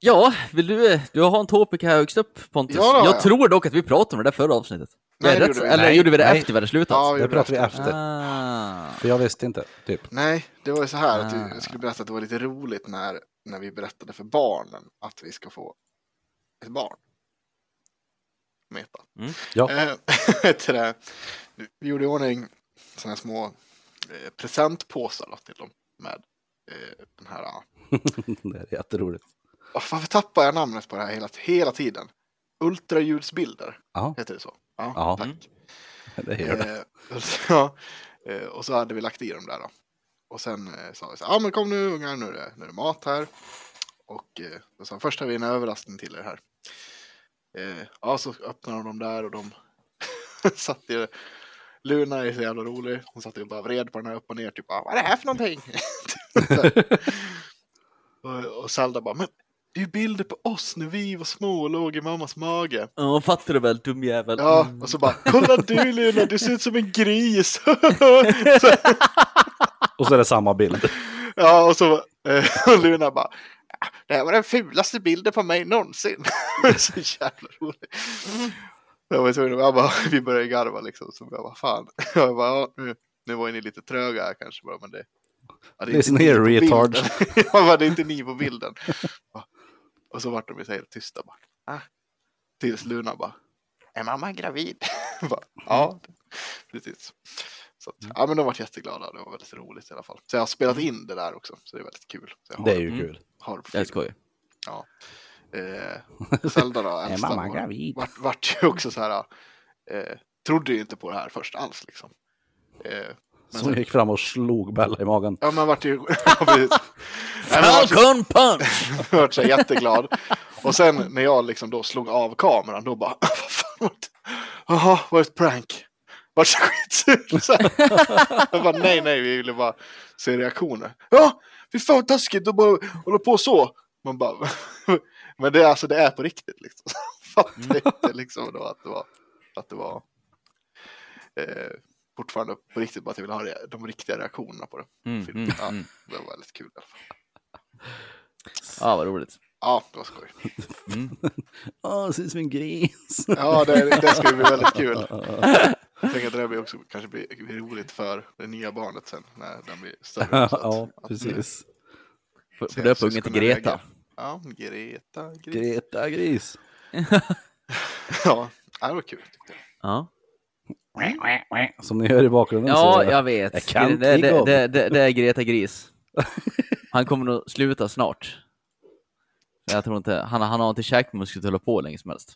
Speaker 1: ja, vill du, du har en topic här högst upp Pontus.
Speaker 2: Ja, det har
Speaker 1: jag
Speaker 2: jag.
Speaker 1: tror dock att vi pratade om det där förra avsnitet.
Speaker 2: Nej,
Speaker 1: är
Speaker 2: det
Speaker 1: rätt-
Speaker 2: gjorde vi
Speaker 1: Eller
Speaker 3: inte.
Speaker 1: gjorde vi det
Speaker 3: Nej.
Speaker 1: efter vi hade slutat?
Speaker 2: Ja, vi
Speaker 3: Det
Speaker 2: gjorde
Speaker 3: pratade vi
Speaker 2: det.
Speaker 3: efter,
Speaker 1: Ah.
Speaker 3: för jag visste inte. Typ.
Speaker 2: Nej, det var ju så här att vi-
Speaker 1: Ah.
Speaker 2: jag skulle berätta att det var lite roligt när, när vi berättade för barnen att vi ska få ett barn. Meta.
Speaker 1: Mm.
Speaker 3: Ja.
Speaker 2: Eh, till det. här. Vi gjorde i ordning sådana här små eh, presentpåsar då, till dem med eh, den här. ah,
Speaker 3: det är jätteroligt.
Speaker 2: åh, Varför tappar jag namnet på det här hela, hela tiden? Ultraljudsbilder,
Speaker 3: Ja,
Speaker 2: heter det så? Ja,
Speaker 3: Ja.
Speaker 2: tack.
Speaker 3: det gör det.
Speaker 2: Eh, och så- ja, eh, och så hade vi lagt i dem där då. Och sen eh, sa vi så här, ja ah, men kom nu ungar, nu är det, nu är det mat här. Och eh, då sa han, först har vi en överraskning till er här. Eh, ja, så öppnade de dem där och de satt ju... Luna är så jävla rolig. Hon satt ju och bara vred på den här upp och ner. Typ, ah, vad är det här för någonting? Typ så här. och, och Zelda bara, men det är ju bilder på oss när vi var små och låg i mammas mage.
Speaker 1: Ja, fattar du väl, dum jävel. Mm.
Speaker 2: Ja, och så bara, kolla du Luna, du ser ut som en gris. så,
Speaker 3: Och så är det samma bild.
Speaker 2: ja, och så eh, och Luna bara, "Ah, det här var den fulaste bilden på mig någonsin. så jävla rolig. Jag var tvungen, jag bara, vi började garva liksom, så jag bara, fan. Jag bara, ja, nu, nu var ju ni lite tröga här kanske, bara, men det... Ja, det är
Speaker 3: Listen
Speaker 2: inte ni
Speaker 3: here,
Speaker 2: på
Speaker 3: retard.
Speaker 2: bilden. jag bara, det är inte ni på bilden. Ja. Och så vart de ju så helt tysta bara. Ah. Tills Luna bara, är mamma gravid? bara, ja, precis. Så att, ja, men de vart jätteglada. Det var väldigt roligt i alla fall. Så jag har spelat in det där också, så det är väldigt kul. Så jag har,
Speaker 3: Det är ju
Speaker 1: Mm.
Speaker 3: kul.
Speaker 2: har på
Speaker 1: Det är
Speaker 2: film.
Speaker 1: skoj.
Speaker 2: Ja. Eh, Zelda då, äldsta,
Speaker 3: mamma
Speaker 2: var-
Speaker 3: gravid?
Speaker 2: Vart, vart ju också så här, eh, trodde ju inte på det här först alls liksom. Eh, men
Speaker 3: Så hon
Speaker 2: sen,
Speaker 3: gick fram och slog Bella i magen.
Speaker 2: ja, man vart ju... ja, precis. Nej, men vart ju-
Speaker 1: Falcon punch!
Speaker 2: vart så här jätteglad. Och sen när jag liksom då slog av kameran, då bara, vad fan var det? Jaha, var det ett prank? Vart så skitsur. Så här. jag bara, nej, nej, vi ville bara se reaktioner. Ja, fy fan vad taskigt att bara hålla på så. Man bara, men det är alltså, det är på riktigt liksom.
Speaker 1: Mm.
Speaker 2: Fattar inte liksom då att det var, att det var eh, fortfarande på riktigt, bara att jag ville ha re- de riktiga reaktionerna på det.
Speaker 1: Mm, mm,
Speaker 2: ja,
Speaker 1: mm.
Speaker 2: Det var väldigt kul i alla fall.
Speaker 1: Ja, vad roligt.
Speaker 2: Ja, det var skoj.
Speaker 3: Åh, ser ut som en gris.
Speaker 2: Ja, det, det ska ju bli väldigt kul. Jag tänker att det där blir också kanske blir, blir roligt för det nya barnet sen när den blir större. så att-
Speaker 3: ja,
Speaker 2: att-
Speaker 3: precis.
Speaker 1: Får
Speaker 2: se
Speaker 1: får
Speaker 2: att
Speaker 1: döpa ungen till
Speaker 2: syskonen
Speaker 1: Greta.
Speaker 2: reagerar. Ja, Greta. Greta.
Speaker 3: Greta Gris.
Speaker 2: Ja, ja, det var kul. tyckte jag.
Speaker 1: Ja.
Speaker 3: Som ni hör i bakgrunden
Speaker 1: ja,
Speaker 3: så...
Speaker 1: jag vet.
Speaker 3: jag kan
Speaker 1: det,
Speaker 3: kriga
Speaker 1: det,
Speaker 3: om.
Speaker 1: det, det, det är Greta Gris. Han kommer nog sluta snart. Jag tror inte, han, han har inte käkmuskler att hålla på hur länge som helst.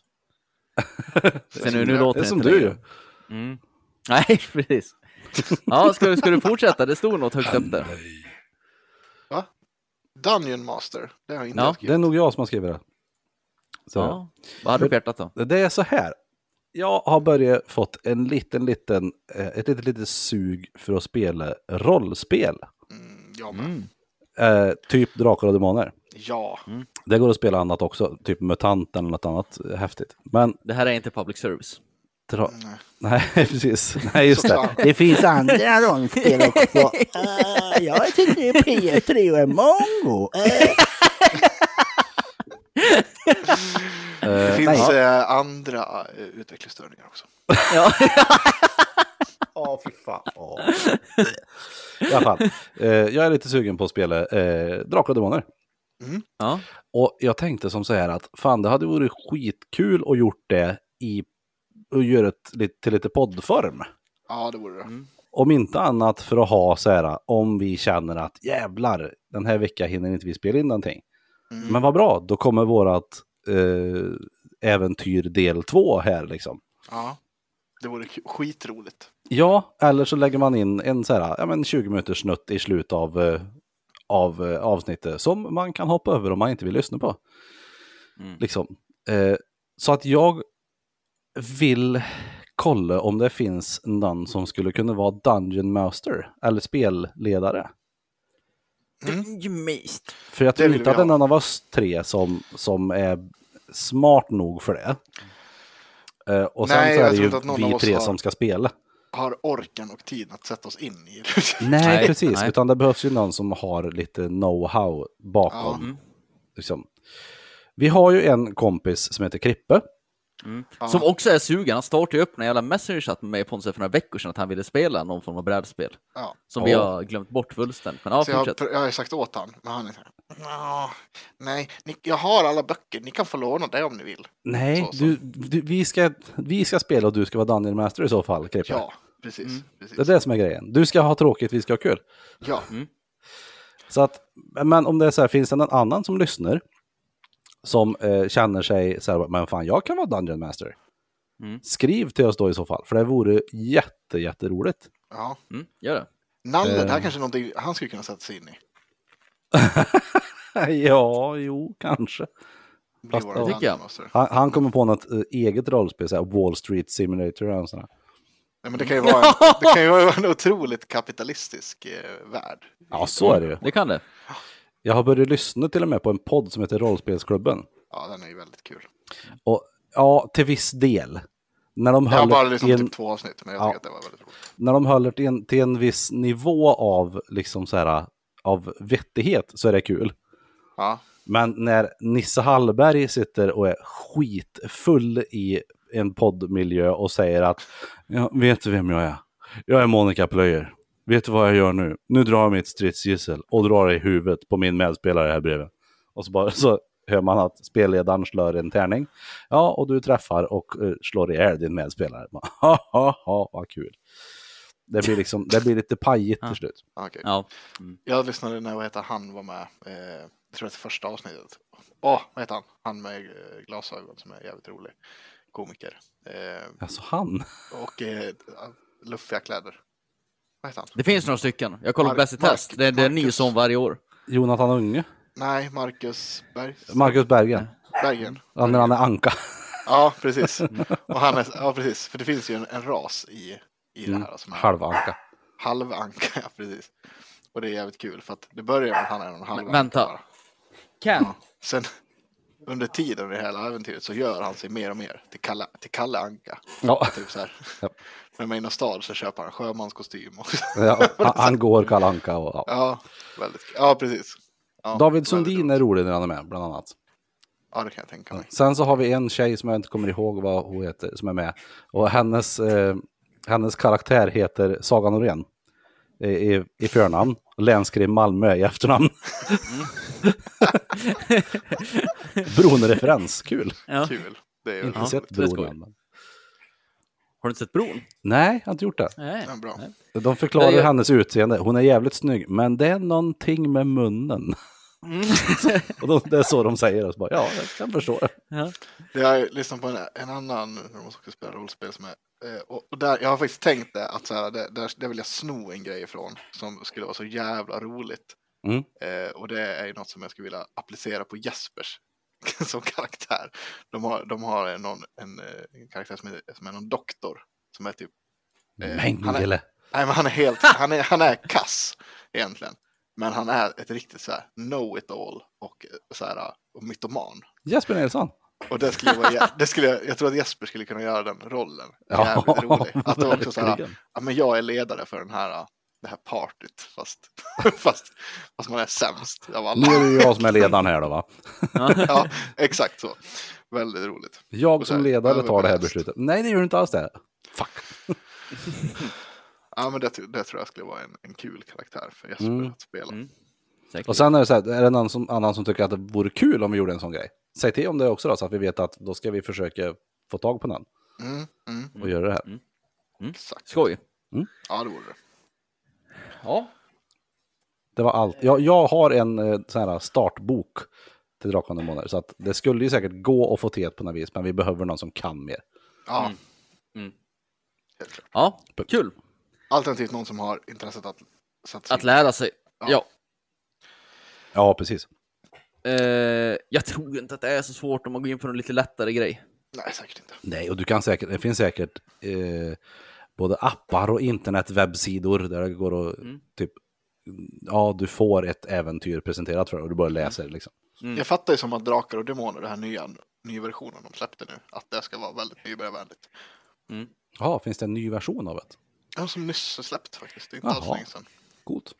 Speaker 1: Så nu, nu låter
Speaker 3: Det är som
Speaker 1: inte
Speaker 3: du
Speaker 1: längre.
Speaker 3: ju.
Speaker 1: Mm. Nej, precis. Ja, ska, du- ska du fortsätta? Det stod något högt upp där.
Speaker 2: Dungeon Master, det har jag inte
Speaker 1: Ja.
Speaker 2: ja.
Speaker 3: Det är nog jag som har skrivit det. Så.
Speaker 1: Ja. Vad hade du på hjärtat då?
Speaker 3: Det är så här. Jag har börjat fått en liten, liten, eh, ett litet, litet sug för att spela rollspel.
Speaker 2: Mm, jag med.
Speaker 3: Eh, typ Drakar och Demoner.
Speaker 2: Ja,
Speaker 3: Det går att spela annat också, typ MUTANT eller något annat eh, häftigt. Men,
Speaker 1: Det här är inte public service.
Speaker 3: dra...
Speaker 2: Nej.
Speaker 3: nej precis, nej just det.
Speaker 1: Eh,
Speaker 2: Såklart.
Speaker 3: Det finns andra.
Speaker 7: rollspel också. Uh, jag tycker P3 och är mongo. Eh,
Speaker 2: det
Speaker 3: Eh,
Speaker 2: finns
Speaker 3: nej.
Speaker 2: eh, andra eh, utvecklingsstörningar också.
Speaker 1: Ja.
Speaker 3: Ja, fy fan. Ja. I alla fall, eh, jag är lite sugen på att spela eh, Drakar och Demoner.
Speaker 2: Mm.
Speaker 1: ja.
Speaker 3: Och jag tänkte som så här att fan det hade varit skitkul att gjort det i och göra ett, lit- till lite poddform.
Speaker 2: Ja, det vore det.
Speaker 3: Om inte annat för att ha så här om vi känner att jävlar den här veckan hinner inte vi spela in någonting.
Speaker 2: Mm.
Speaker 3: Men vad bra, då kommer vårat eh, äventyr del två här liksom.
Speaker 2: Ja, det vore k- skitroligt.
Speaker 3: Ja, eller så lägger man in en så här, ja men 20 minuters snutt i slut av, eh, av eh, avsnittet som man kan hoppa över om man inte vill lyssna på.
Speaker 1: Mm.
Speaker 3: Liksom. Eh, så att jag vill kolla om det finns någon som skulle kunna vara Dungeon Master eller spelledare. För jag
Speaker 2: Det
Speaker 3: tror
Speaker 2: vill vi
Speaker 3: inte att det är
Speaker 2: ha.
Speaker 3: någon av oss tre som, som är smart nog för det. Eh, och
Speaker 2: Nej,
Speaker 3: sen så
Speaker 2: jag
Speaker 3: är det
Speaker 2: tror
Speaker 3: ju
Speaker 2: inte att någon av
Speaker 3: vi
Speaker 2: oss
Speaker 3: tre
Speaker 2: har-
Speaker 3: som ska spela.
Speaker 2: Har orken och tiden att sätta oss in i
Speaker 3: Nej,
Speaker 1: Nej,
Speaker 3: precis.
Speaker 1: nej.
Speaker 3: Utan det behövs ju någon som har lite know-how bakom. Liksom. Vi har ju en kompis som heter Krippe.
Speaker 1: Som också är sugen. Han startade ju upp en jävla messenger-chatt med mig Pontus för några veckor sedan att han ville spela någon form av brädspel.
Speaker 2: Ja.
Speaker 1: Som vi
Speaker 3: Ja.
Speaker 1: har glömt bort fullständigt. Men ja,
Speaker 2: Så jag,
Speaker 1: fortsätt.
Speaker 2: har- jag har ju sagt åt han, men han är så här. "Nå, Nej, ni, jag har alla böcker, ni kan få låna det om ni vill.
Speaker 3: Nej,
Speaker 2: Så, så.
Speaker 3: Du, du, vi, ska, vi ska spela och du ska vara Dungeon Master i så fall, Krippe.
Speaker 2: Ja, precis.
Speaker 3: Mm.
Speaker 2: precis.
Speaker 3: Det är det som är grejen. Du ska ha tråkigt, vi ska ha kul.
Speaker 2: Ja,
Speaker 3: Så att, men om det är så här, finns det någon annan som lyssnar som eh, känner sig så här, men fan jag kan vara Dungeon Master.
Speaker 1: Mm.
Speaker 3: Skriv till oss då i så fall, för det vore jätte, jätteroligt.
Speaker 2: ja.
Speaker 1: Mm, gör det.
Speaker 2: Nalle, det här
Speaker 3: Eh.
Speaker 2: kanske är någonting han skulle kunna sätta sig in i.
Speaker 3: ja, jo, kanske.
Speaker 2: blir
Speaker 3: Fast-
Speaker 2: våran
Speaker 3: ja.
Speaker 1: Tycker jag.
Speaker 2: Landmaster.
Speaker 3: Han, han kommer på något eh, eget rollspel, så här Wall Street Simulator eller något sånt där.
Speaker 2: Nej, men det kan ju vara en, det kan ju vara en otroligt kapitalistisk eh, värld.
Speaker 3: Ja, så är det ju.
Speaker 1: Det kan det.
Speaker 3: Jag har börjat lyssna till och med på en podd som heter Rollspelsklubben.
Speaker 2: Ja, den är ju väldigt kul.
Speaker 3: Och ja, till viss del. När de
Speaker 2: Jag har
Speaker 3: höll
Speaker 2: bara
Speaker 3: det
Speaker 2: liksom
Speaker 3: i en-
Speaker 2: typ två avsnitt, men jag tycker
Speaker 3: Ja.
Speaker 2: att det var väldigt roligt.
Speaker 3: när de håller till en, till en viss nivå av, liksom så här, av vettighet så är det kul.
Speaker 2: Ja,
Speaker 3: Men när Nisse Hallberg sitter och är skitfull i en poddmiljö och säger att ja, vet du vem jag är? Jag är Monica Plöjer. Vet du vad jag gör nu? Nu drar jag mitt stridsgissel och drar i huvudet på min medspelare här bredvid. Och så, bara, så hör man att spelledaren slår en tärning. Ja, och du träffar och eh, slår ihjäl din medspelare. Man, Ha, ha, ha, vad kul. Det blir, liksom, det blir lite pajigt till slut.
Speaker 2: ja, okej.
Speaker 1: Ja.
Speaker 2: Jag lyssnade när, vad heter han, var med. Eh, jag tror att det första avsnittet. Åh, vad heter han? Han med eh, glasögon som är jävligt rolig. Komiker. Eh,
Speaker 3: Alltså han.
Speaker 2: och eh, luffiga kläder. Vad heter han?
Speaker 1: Det finns några stycken. Jag kollar på
Speaker 2: Mark-
Speaker 1: Bäst i
Speaker 2: Mark-
Speaker 1: test. Det, det är en ny
Speaker 2: Marcus.
Speaker 1: sån varje år.
Speaker 3: Jonathan Unge.
Speaker 2: Nej, Marcus Berg...
Speaker 3: Marcus Bergen.
Speaker 2: Bergen.
Speaker 3: Ja, när han är anka.
Speaker 2: Ja, precis. Och han är, ja, precis. För det finns ju en, en ras i, i det här. Som är
Speaker 3: Halvanka.
Speaker 2: halvanka, ja, precis. Och det är jävligt kul för att det börjar med att han är en halvanka.
Speaker 1: vänta.
Speaker 2: bara.
Speaker 1: Ken,
Speaker 2: Sen under tiden i det hela äventyret så gör han sig mer och mer till Kalle, till Kalle Anka.
Speaker 3: Ja.
Speaker 2: Typ så här.
Speaker 3: Ja.
Speaker 2: När man är inne i stad så köper han sjömanskostym. Och...
Speaker 3: Ja, han, han går Kalle Anka och ja.
Speaker 2: ja, väldigt kul. Ja, precis. Ja,
Speaker 3: David
Speaker 2: väldigt
Speaker 3: Sundin
Speaker 2: roligt.
Speaker 3: är rolig när han är med, bland annat.
Speaker 2: Ja, det kan jag
Speaker 1: Mm.
Speaker 2: tänka mig.
Speaker 3: Sen så har vi en tjej som jag inte kommer ihåg vad hon heter, som är med. Och hennes, eh, hennes karaktär heter Saga Norén i, i, i förnamn. Länskrim Malmö i efternamn.
Speaker 1: Mm.
Speaker 3: Bron-referens, kul.
Speaker 1: ja.
Speaker 2: Kul. Det är
Speaker 3: Inte
Speaker 1: Ja,
Speaker 3: sett
Speaker 1: det är skoj.
Speaker 3: bron än. men-
Speaker 1: har du inte sett Bron?
Speaker 3: Nej, jag har inte gjort det.
Speaker 1: Nej.
Speaker 2: Ja, bra.
Speaker 3: De förklarar
Speaker 1: Det är-
Speaker 3: hennes utseende. Hon är jävligt snygg, men det är någonting med munnen. och då, det är så de säger. Och så bara, ja, jag kan förstå det.
Speaker 2: Det har jag lyssnat på en, en annan, när de också spelar rollspel som är, eh, och, och där, jag har faktiskt tänkt det, att så här, det, där, där vill jag sno en grej ifrån som skulle vara så jävla roligt.
Speaker 3: Mm.
Speaker 2: Eh, och det är ju något som jag skulle vilja applicera på Jespers som karaktär. De har, de har någon, en, eh, en karaktär som är, som är någon doktor, som är typ, Eh, han är-
Speaker 3: Mengele.
Speaker 2: nej men han är helt, han är, han är kass egentligen. Men han är ett riktigt så här know-it-all och eh, så här, och mytoman.
Speaker 3: Jesper Nilsson.
Speaker 2: Och det skulle vara, jä- det skulle, jag- jag tror att Jesper skulle kunna göra den rollen.
Speaker 3: Ja,
Speaker 2: Jävligt rolig. Att det var också så här,
Speaker 3: verkligen.
Speaker 2: ja, men jag är ledare för den här, det här partyt, fast, fast, fast man är sämst av
Speaker 3: Nu
Speaker 2: alla.
Speaker 3: är det ju jag som är ledaren här då, va?
Speaker 2: Ja, exakt så. Väldigt roligt.
Speaker 3: Jag
Speaker 2: Och så
Speaker 3: som
Speaker 2: här,
Speaker 3: ledare tar det här
Speaker 2: överbelast.
Speaker 3: beslutet. Nej, det gör du inte alls det. Fuck.
Speaker 2: Ja, men det, det tror jag skulle vara en, en kul karaktär för Jesper
Speaker 3: Mm.
Speaker 2: att spela.
Speaker 1: Mm. Säkert.
Speaker 3: Och sen är det så här, är det någon som, annan som tycker att det vore kul om vi gjorde en sån grej? Säg till om det också då, så att vi vet att då ska vi försöka få tag på någon
Speaker 2: Mm, mm,
Speaker 3: och göra det här.
Speaker 2: exakt.
Speaker 1: Skoj.
Speaker 2: Ja, det vore det.
Speaker 1: Ja.
Speaker 3: Det var allt. Jag, jag har en eh, sån här startbok till Drakar och Demoner, så att det skulle ju säkert gå att få till det på något vis, men vi behöver någon som kan mer.
Speaker 2: Ja,
Speaker 3: Mm.
Speaker 1: Ja, kul
Speaker 2: alternativt någon som har intresset att sätta sig
Speaker 1: att lära sig. Ja.
Speaker 3: Ja, precis.
Speaker 1: Eh, jag tror inte att det är så svårt om man går in för en lite lättare grej.
Speaker 2: Nej, säkert inte.
Speaker 3: Nej, och du kan säkert, det finns säkert eh, både appar och internetwebbsidor där det går att typ, ja, du får ett äventyr presenterat för dig och du bara läser liksom.
Speaker 2: Jag fattar ju som att Drakar och Demoner, den här nya, nya versionen de släppte nu, att det ska vara väldigt nybörjarvänligt.
Speaker 3: Ja, finns det en ny version av det?
Speaker 2: Ja, som nyss är släppt faktiskt. Det är inte alls
Speaker 3: Jaha.
Speaker 2: länge sedan.
Speaker 3: Coolt.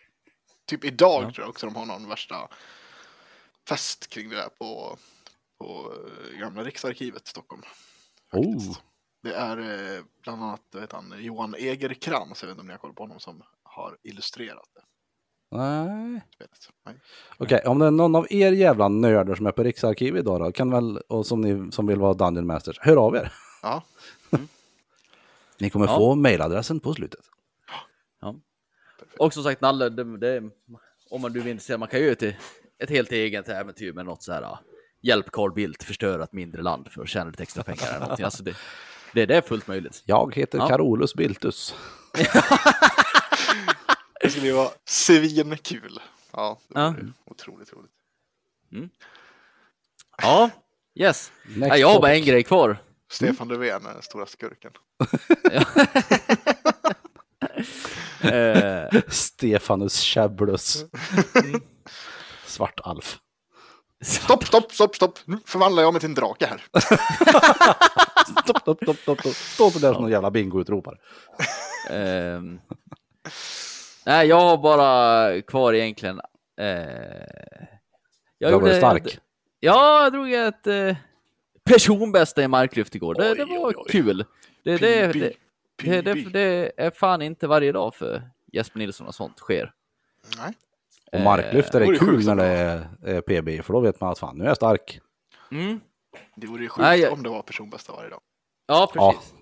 Speaker 2: Typ idag tror jag också de har någon värsta fest kring det där på, på eh, gamla riksarkivet i Stockholm.
Speaker 3: Oh,
Speaker 2: Det är eh, bland annat vad heter han, Johan Egerkrans, jag vet inte om ni har koll på honom, som har illustrerat det.
Speaker 3: Oh. nej.
Speaker 2: spelet. Nej.
Speaker 3: Okej, om det är någon av er jävla nördar som är på Riksarkivet idag då, kan väl, och som, ni, som vill vara Dungeon Masters, hör av er. Mm.
Speaker 2: Ja,
Speaker 3: Ni kommer
Speaker 1: Ja.
Speaker 3: få mejladressen på slutet.
Speaker 1: Och som sagt Nalle, det, det, om man nu är intresserad, man kan ju göra ett, ett helt eget äventyr med något så här. ah, Hjälp Carl Bildt förstöra ett mindre land för att tjäna lite extra pengar eller någonting. Alltså det, det, det är fullt möjligt.
Speaker 3: Jag heter
Speaker 1: Ja.
Speaker 3: Carolus Biltus.
Speaker 2: det skulle ju vara svinkul. Ja, det
Speaker 1: Ja.
Speaker 2: vore otroligt roligt.
Speaker 1: Ja, Yes.
Speaker 3: Next
Speaker 1: Ja, jag har bara
Speaker 3: topic.
Speaker 1: en grej kvar.
Speaker 2: Stefan
Speaker 1: Mm.
Speaker 2: Löfven är den stora skurken.
Speaker 1: Eh,
Speaker 3: Stefanus Käblus. Svart-Alf.
Speaker 2: Stopp, stopp, stopp, stopp! Nu förvandlar jag mig till en drake här.
Speaker 3: Stopp, stopp, stopp, stopp, stopp. Stå inte där som någon jävla bingoutropare.
Speaker 1: Ehm. Nej, jag har bara kvar egentligen. Eh, jag
Speaker 3: Där var
Speaker 1: gjorde-
Speaker 3: du stark.
Speaker 1: Ja, jag drog ett eh, personbästa i marklyft igår. Det, det var kul. Det, det,
Speaker 2: Pingbi.
Speaker 1: det, det, det, det är fan inte varje dag för Jesper Nilsson och sånt sker.
Speaker 2: Nej.
Speaker 3: Och marklyfter
Speaker 2: Eh,
Speaker 3: är
Speaker 2: vore
Speaker 3: kul
Speaker 2: sjukt
Speaker 3: när det är eh, PB, för då vet man att fan, nu är jag stark.
Speaker 1: Mm.
Speaker 2: Det vore ju sjukt
Speaker 1: Nej, jag-
Speaker 2: om det var personbästa varje dag.
Speaker 1: Ja,
Speaker 3: Ja.
Speaker 1: precis.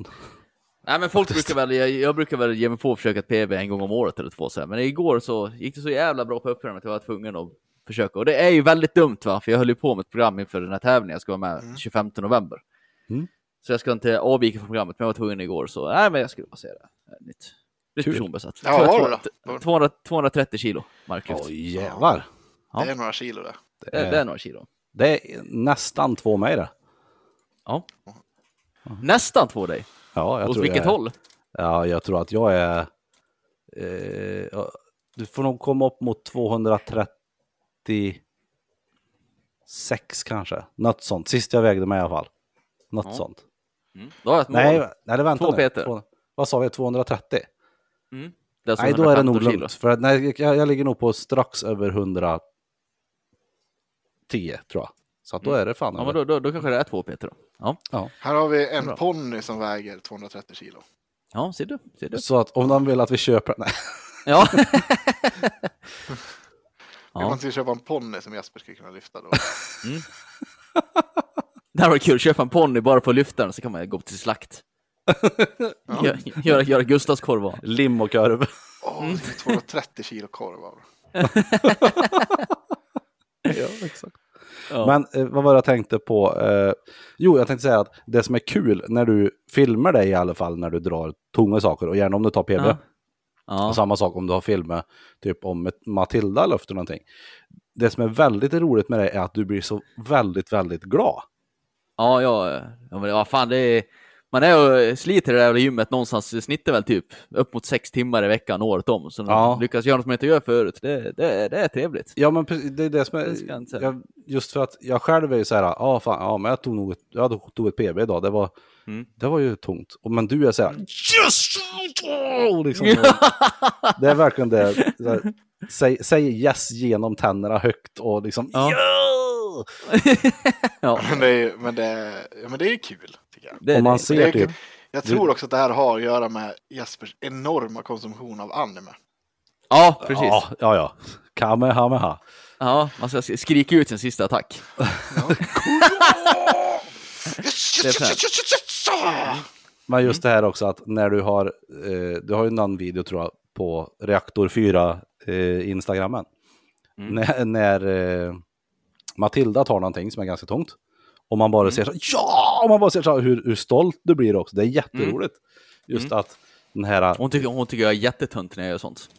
Speaker 1: Nej, men folk brukar väl, jag, jag brukar väl ge mig på att försöka ett PB en gång om året eller två så här. men igår så gick det så jävla bra på uppvärmningen att jag var tvungen att försöka. Och det är ju väldigt dumt va, för jag höll ju på med ett program inför den här tävlingen, jag ska vara med 25 november.
Speaker 3: Mm.
Speaker 1: Så jag ska inte avvika från programmet, men jag var tvungen igår så, nej men jag skulle bara säga det. Ett Nytt, nytt
Speaker 3: Kul.
Speaker 1: personbesatt.
Speaker 2: Ja, vad var det då?
Speaker 1: 200, 230 kilo marklyft.
Speaker 3: Oj jävlar.
Speaker 1: Ja.
Speaker 2: Det är några kilo där.
Speaker 1: det, det är några kilo.
Speaker 3: Det är nästan två mig det.
Speaker 1: Ja. Nästan två dig.
Speaker 3: Ja, jag
Speaker 1: Åt
Speaker 3: tror
Speaker 1: vilket
Speaker 3: jag, är-
Speaker 1: håll?
Speaker 3: Ja, jag tror att jag är... Eh, ja, du får nog komma upp mot 236 kanske. Något sånt. Sist jag vägde mig i alla fall. Något
Speaker 1: Ja.
Speaker 3: sånt.
Speaker 1: Mm. Då har jag ett mål.
Speaker 3: Nej, nej, det vänta
Speaker 1: Två
Speaker 3: nu.
Speaker 1: Peter.
Speaker 3: Två- Vad sa vi? 230?
Speaker 1: Det alltså
Speaker 3: nej, då är det
Speaker 1: 115
Speaker 3: nog
Speaker 1: kilo.
Speaker 3: lugnt. För att, nej, jag, jag ligger nog på strax över 110 tror jag. Så att då är det fan
Speaker 1: Mm. Ja,
Speaker 3: över.
Speaker 1: men då, då, då kanske det är två Peter då. Ja,
Speaker 2: Här har vi en
Speaker 1: Bra.
Speaker 2: ponny som väger 230 kilo.
Speaker 1: ja ser du? Ser du?
Speaker 3: Så att om de vill att vi köper... Nej.
Speaker 1: Ja.
Speaker 2: Vi
Speaker 1: ja.
Speaker 2: måste ju köpa en ponny som Jesper skulle kunna lyfta då.
Speaker 1: Det här var kul, köpa en ponny bara på lyftaren så kan man gå till slakt. Gö- Göra, göra Gustavskorv av.
Speaker 3: Lim och korv.
Speaker 2: Åh,
Speaker 1: Mm.
Speaker 2: 230 kilo korv av.
Speaker 3: ja, exakt.
Speaker 1: Ja.
Speaker 3: Men eh, vad var det jag tänkte på? Eh, jo, jag tänkte säga att det som är kul när du filmar dig i alla fall när du drar tunga saker och gärna om du tar PB.
Speaker 1: Ja. Ja.
Speaker 3: Och samma sak om du har filmer typ om ett Matilda lyfter någonting. Det som är väldigt roligt med det är att du blir så väldigt, väldigt glad.
Speaker 1: Ja, ja, ja, men ja, fan det är... Man är och sliter i det där jävla gymmet någonstans, det snittar väl typ upp mot sex timmar i veckan året om. Så när
Speaker 3: Ja.
Speaker 1: man lyckas göra något man inte gör förut, det, det, det är trevligt.
Speaker 3: Ja, men precis, det är det som är...
Speaker 1: Det ska jag inte säga.
Speaker 3: jag, just för att jag själv är ju så här, ja ah, fan, ja, men jag tog nog ett, jag tog ett PB idag, det var,
Speaker 1: Mm.
Speaker 3: det var ju tungt. Och, men du är så här, yes! Oh, liksom, det är verkligen det. Så här, säg, säg yes genom tänderna högt och liksom,
Speaker 1: Ja.
Speaker 3: "Yeah!"
Speaker 1: Ja,
Speaker 2: Men det är ju men det är, ja, men det är ju kul, tycker jag.
Speaker 1: det,
Speaker 3: Och man
Speaker 1: det-
Speaker 3: ser typ,
Speaker 2: Jag tror också att det här har att göra med Jespers enorma konsumtion av anime.
Speaker 1: ja, precis.
Speaker 3: ja, ja, ja, kamehameha.
Speaker 1: Ja, man ska skrika ut sin sista attack. Det är fränt.
Speaker 3: Men just
Speaker 1: Mm.
Speaker 3: det här också att när du har, eh, du har ju någon video tror jag på Reaktor 4 eh, Instagrammen.
Speaker 1: Mm.
Speaker 3: När, när eh, Matilda tar någonting som är ganska tungt. Och man bara
Speaker 1: Mm.
Speaker 3: ser så ja! Och man bara ser så här hur, hur stolt du blir också. Det är
Speaker 1: Mm.
Speaker 3: jätteroligt. Just att den här,
Speaker 1: Hon tycker, hon tycker jag är jättetunt när jag gör sånt.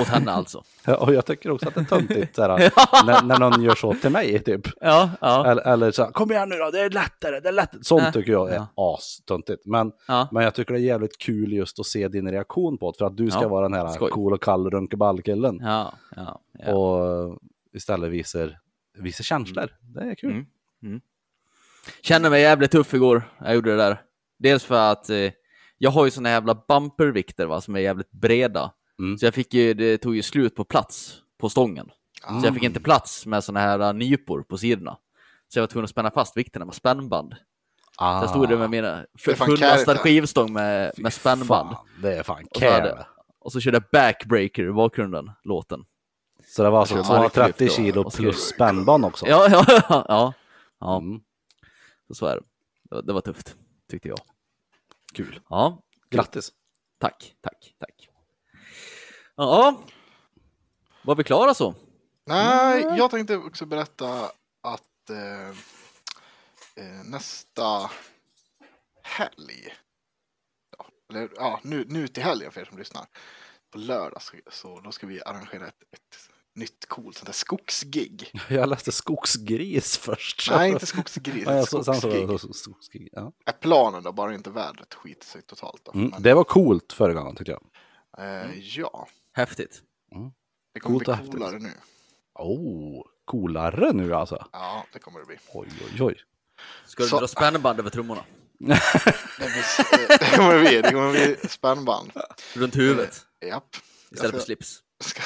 Speaker 1: Åt henne alltså.
Speaker 3: och jag tycker också att det är töntigt så här, när, när någon gör så till mig typ.
Speaker 1: Ja, ja.
Speaker 3: Eller, eller så här, kom igen nu då, det är lättare, det är lättare. Sånt
Speaker 1: Ja.
Speaker 3: tycker jag är astöntigt. Men,
Speaker 1: Ja.
Speaker 3: men jag tycker det är jävligt kul just att se din reaktion på det, för att du ska
Speaker 1: Ja,
Speaker 3: vara den här
Speaker 1: skoj.
Speaker 3: cool och kall runkeballkillen.
Speaker 1: Ja, ja, ja.
Speaker 3: Och istället visar, visar känslor. Det är kul.
Speaker 1: Mm. Kände mig jävligt tuff igår. Jag gjorde det där. Dels för att eh, jag har ju såna jävla bumpervikter va, som är jävligt breda.
Speaker 3: Mm.
Speaker 1: Så jag fick ju, det tog ju slut på plats på stången. Så jag fick inte plats med såna här eh, nypor på sidorna. Så jag var tvungen att spänna fast vikterna med spännband.
Speaker 3: Ah,
Speaker 1: Där stod det med mina
Speaker 2: är fan
Speaker 1: fullastad
Speaker 2: kärigt, det.
Speaker 1: skivstång med, med spännband.
Speaker 3: Fan, det är fan
Speaker 1: Och så, hade,
Speaker 3: care.
Speaker 1: och så körde jag backbreaker i bakgrunden, låten.
Speaker 3: Så det var alltså
Speaker 1: Jag ska
Speaker 3: 230
Speaker 1: marklyft och-
Speaker 3: kilo
Speaker 1: och ska-
Speaker 3: plus spännband också.
Speaker 1: Ja, ja, ja. ja. ja
Speaker 3: Mm.
Speaker 1: så- så är det. det. var- Det var tufft, tyckte jag.
Speaker 3: Kul.
Speaker 1: Ja,
Speaker 3: Grattis.
Speaker 1: tack, tack, tack. Ja, var vi klara så?
Speaker 2: Nej, jag tänkte också berätta att eh, eh, nästa helg, ja, eller ja, nu, nu till helgen för er som lyssnar, på lördag så, så då ska vi arrangera ett, ett nytt coolt sånt där skogsgig.
Speaker 3: Jag läste skogsgris först.
Speaker 2: Nej, inte skogsgris.
Speaker 3: Ja, jag så, sen så,
Speaker 2: skogsgig.
Speaker 3: så, så, skogsgig. Ja.
Speaker 2: Är planen då, bara inte vädret skiter sig totalt. Då.
Speaker 3: Mm,
Speaker 2: Men,
Speaker 3: det var coolt förra gången tyckte jag.
Speaker 2: eh, ja,
Speaker 1: Häftigt.
Speaker 2: det kommer
Speaker 3: Coolt
Speaker 2: bli
Speaker 3: och häftigt.
Speaker 2: coolare nu.
Speaker 3: Oh, coolare nu alltså.
Speaker 2: Ja, det kommer det bli.
Speaker 3: Oj, oj, oj.
Speaker 1: Ska du
Speaker 2: Så-
Speaker 1: dra spännband över trummorna?
Speaker 2: Det, blir, eh, det kommer det bli. Det kommer bli spännband.
Speaker 1: Runt huvudet?
Speaker 2: Japp.
Speaker 1: Istället
Speaker 2: ska-
Speaker 1: för slips?
Speaker 2: Ska...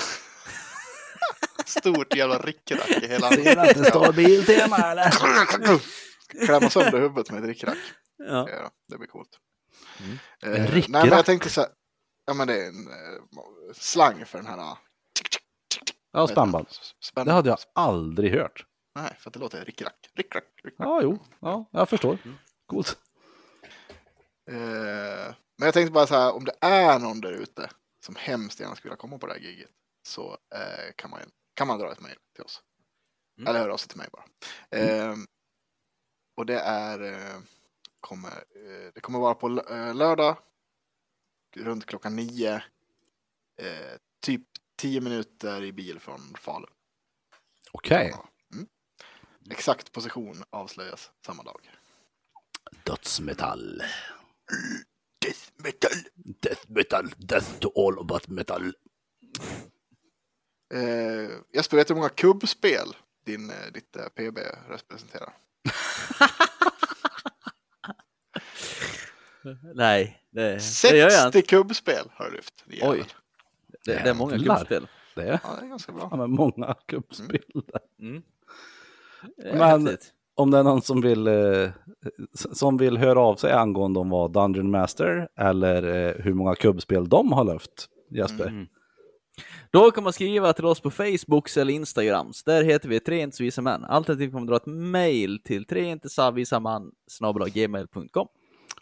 Speaker 2: Stort jävla rickrack i hela...
Speaker 7: Det är inte stabiltema eller?
Speaker 2: Klämma sönder huvudet med ett rickrack.
Speaker 1: Ja.
Speaker 2: Ja, det blir coolt.
Speaker 1: Mm.
Speaker 2: Eh,
Speaker 3: En
Speaker 2: nej, men
Speaker 3: rickrack?
Speaker 2: jag tänkte så här. Ja, men det är en eh, slang för den här. ah,
Speaker 3: Ja, spännband.
Speaker 2: Spännband.
Speaker 3: Det hade jag aldrig hört.
Speaker 2: Nej, för att det låter rickrack. Rickrack. rickrack.
Speaker 3: Ja, jo. Ja, jag förstår. Coolt.
Speaker 2: Eh, men jag tänkte bara så här, om det är någon där ute som hemskt gärna skulle vilja komma på det här giget så eh, kan, man, kan man dra ett mejl till oss.
Speaker 1: Mm.
Speaker 2: Eller höra av sig till mig bara. Eh, och det är eh, kommer, eh, det kommer vara på lö- eh, lördag runt klockan nio. Eh, typ tio minuter i bil från Falun.
Speaker 3: Okej.
Speaker 2: Mm. Exakt position avslöjas samma dag.
Speaker 3: Dödsmetall.
Speaker 2: Death metal!
Speaker 3: Death metal. Death to all but metal.
Speaker 2: Eh, Jesper, vet du hur många kubbspel din, eh, ditt eh, PB representerar?
Speaker 1: Nej, det, det gör jag inte.
Speaker 2: 60 kubbspel har du lyft. Det är,
Speaker 1: Oj. Det, det är många
Speaker 3: Jävlar.
Speaker 1: klubbspel.
Speaker 3: Det är
Speaker 2: Ja, det är ganska bra.
Speaker 3: fan en många kuppspel.
Speaker 1: Mm.
Speaker 3: Men-
Speaker 1: Men...
Speaker 3: Om det är någon som vill, eh, s- som vill höra av sig angående om vad Dungeon Master eller eh, hur många kubbspel de har löft, Jesper.
Speaker 1: Mm. Då kan man skriva till oss på Facebooks eller Instagrams. Där heter vi Tre inte så visa män. Alternativt kan man dra ett mejl till treintesavisaman gmail.com.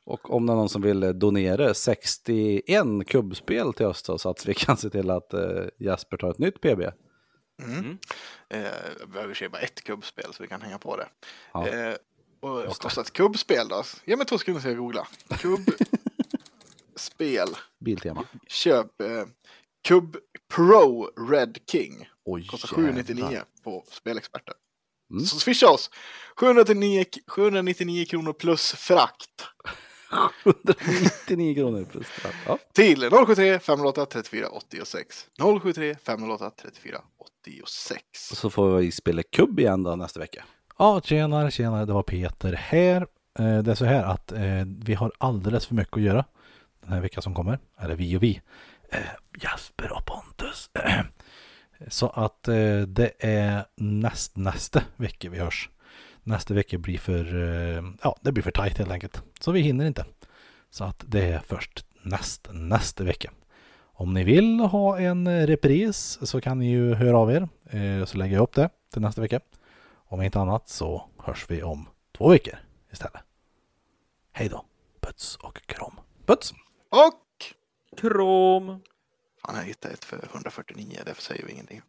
Speaker 3: Och om det är någon som vill eh, donera 61 kubbspel till oss då, så att vi kan se till att eh, Jesper tar ett nytt PB.
Speaker 2: Eh, jag behöver se bara ett kubbspel så vi kan hänga på det.
Speaker 3: Ja.
Speaker 2: Eh, och vad
Speaker 3: Just det.
Speaker 2: kostar ett kubbspel då? Ge mig två sekunder så jag googlar. Kubbspel.
Speaker 3: Biltema.
Speaker 2: Köp eh, Kubb Pro Red King.
Speaker 3: Oj,
Speaker 2: Kostar
Speaker 3: jävlar.
Speaker 2: 799 på Spelexperten.
Speaker 3: Mm.
Speaker 2: Så swisha oss! 799, 799 kronor plus frakt.
Speaker 3: 199 kronor plus straff. Ja.
Speaker 2: till 073 508 34 86. 073 508 34 86.
Speaker 3: Och så får vi spela kubb igen då nästa vecka.
Speaker 8: Ja, tjenare, tjenare, det var Peter här. Eh, Det är så här att eh, vi har alldeles för mycket att göra den här veckan som kommer. Eller vi och vi. Eh, Jasper och Pontus. Så att eh, det är näst, nästa vecka vi hörs. Nästa vecka blir för, eh, ja, det blir för tajt helt enkelt. Så vi hinner inte. Så att det är först näst, nästa vecka. Om ni vill ha en repris så kan ni ju höra av er. eh, Så lägger jag upp det till nästa vecka. Om inte annat så hörs vi om två veckor istället. Hej då! Puts och kram.
Speaker 3: Puts!
Speaker 2: Och!
Speaker 1: Krom!
Speaker 2: Fan, jag hittade ett för 149, därför säger vi ingenting.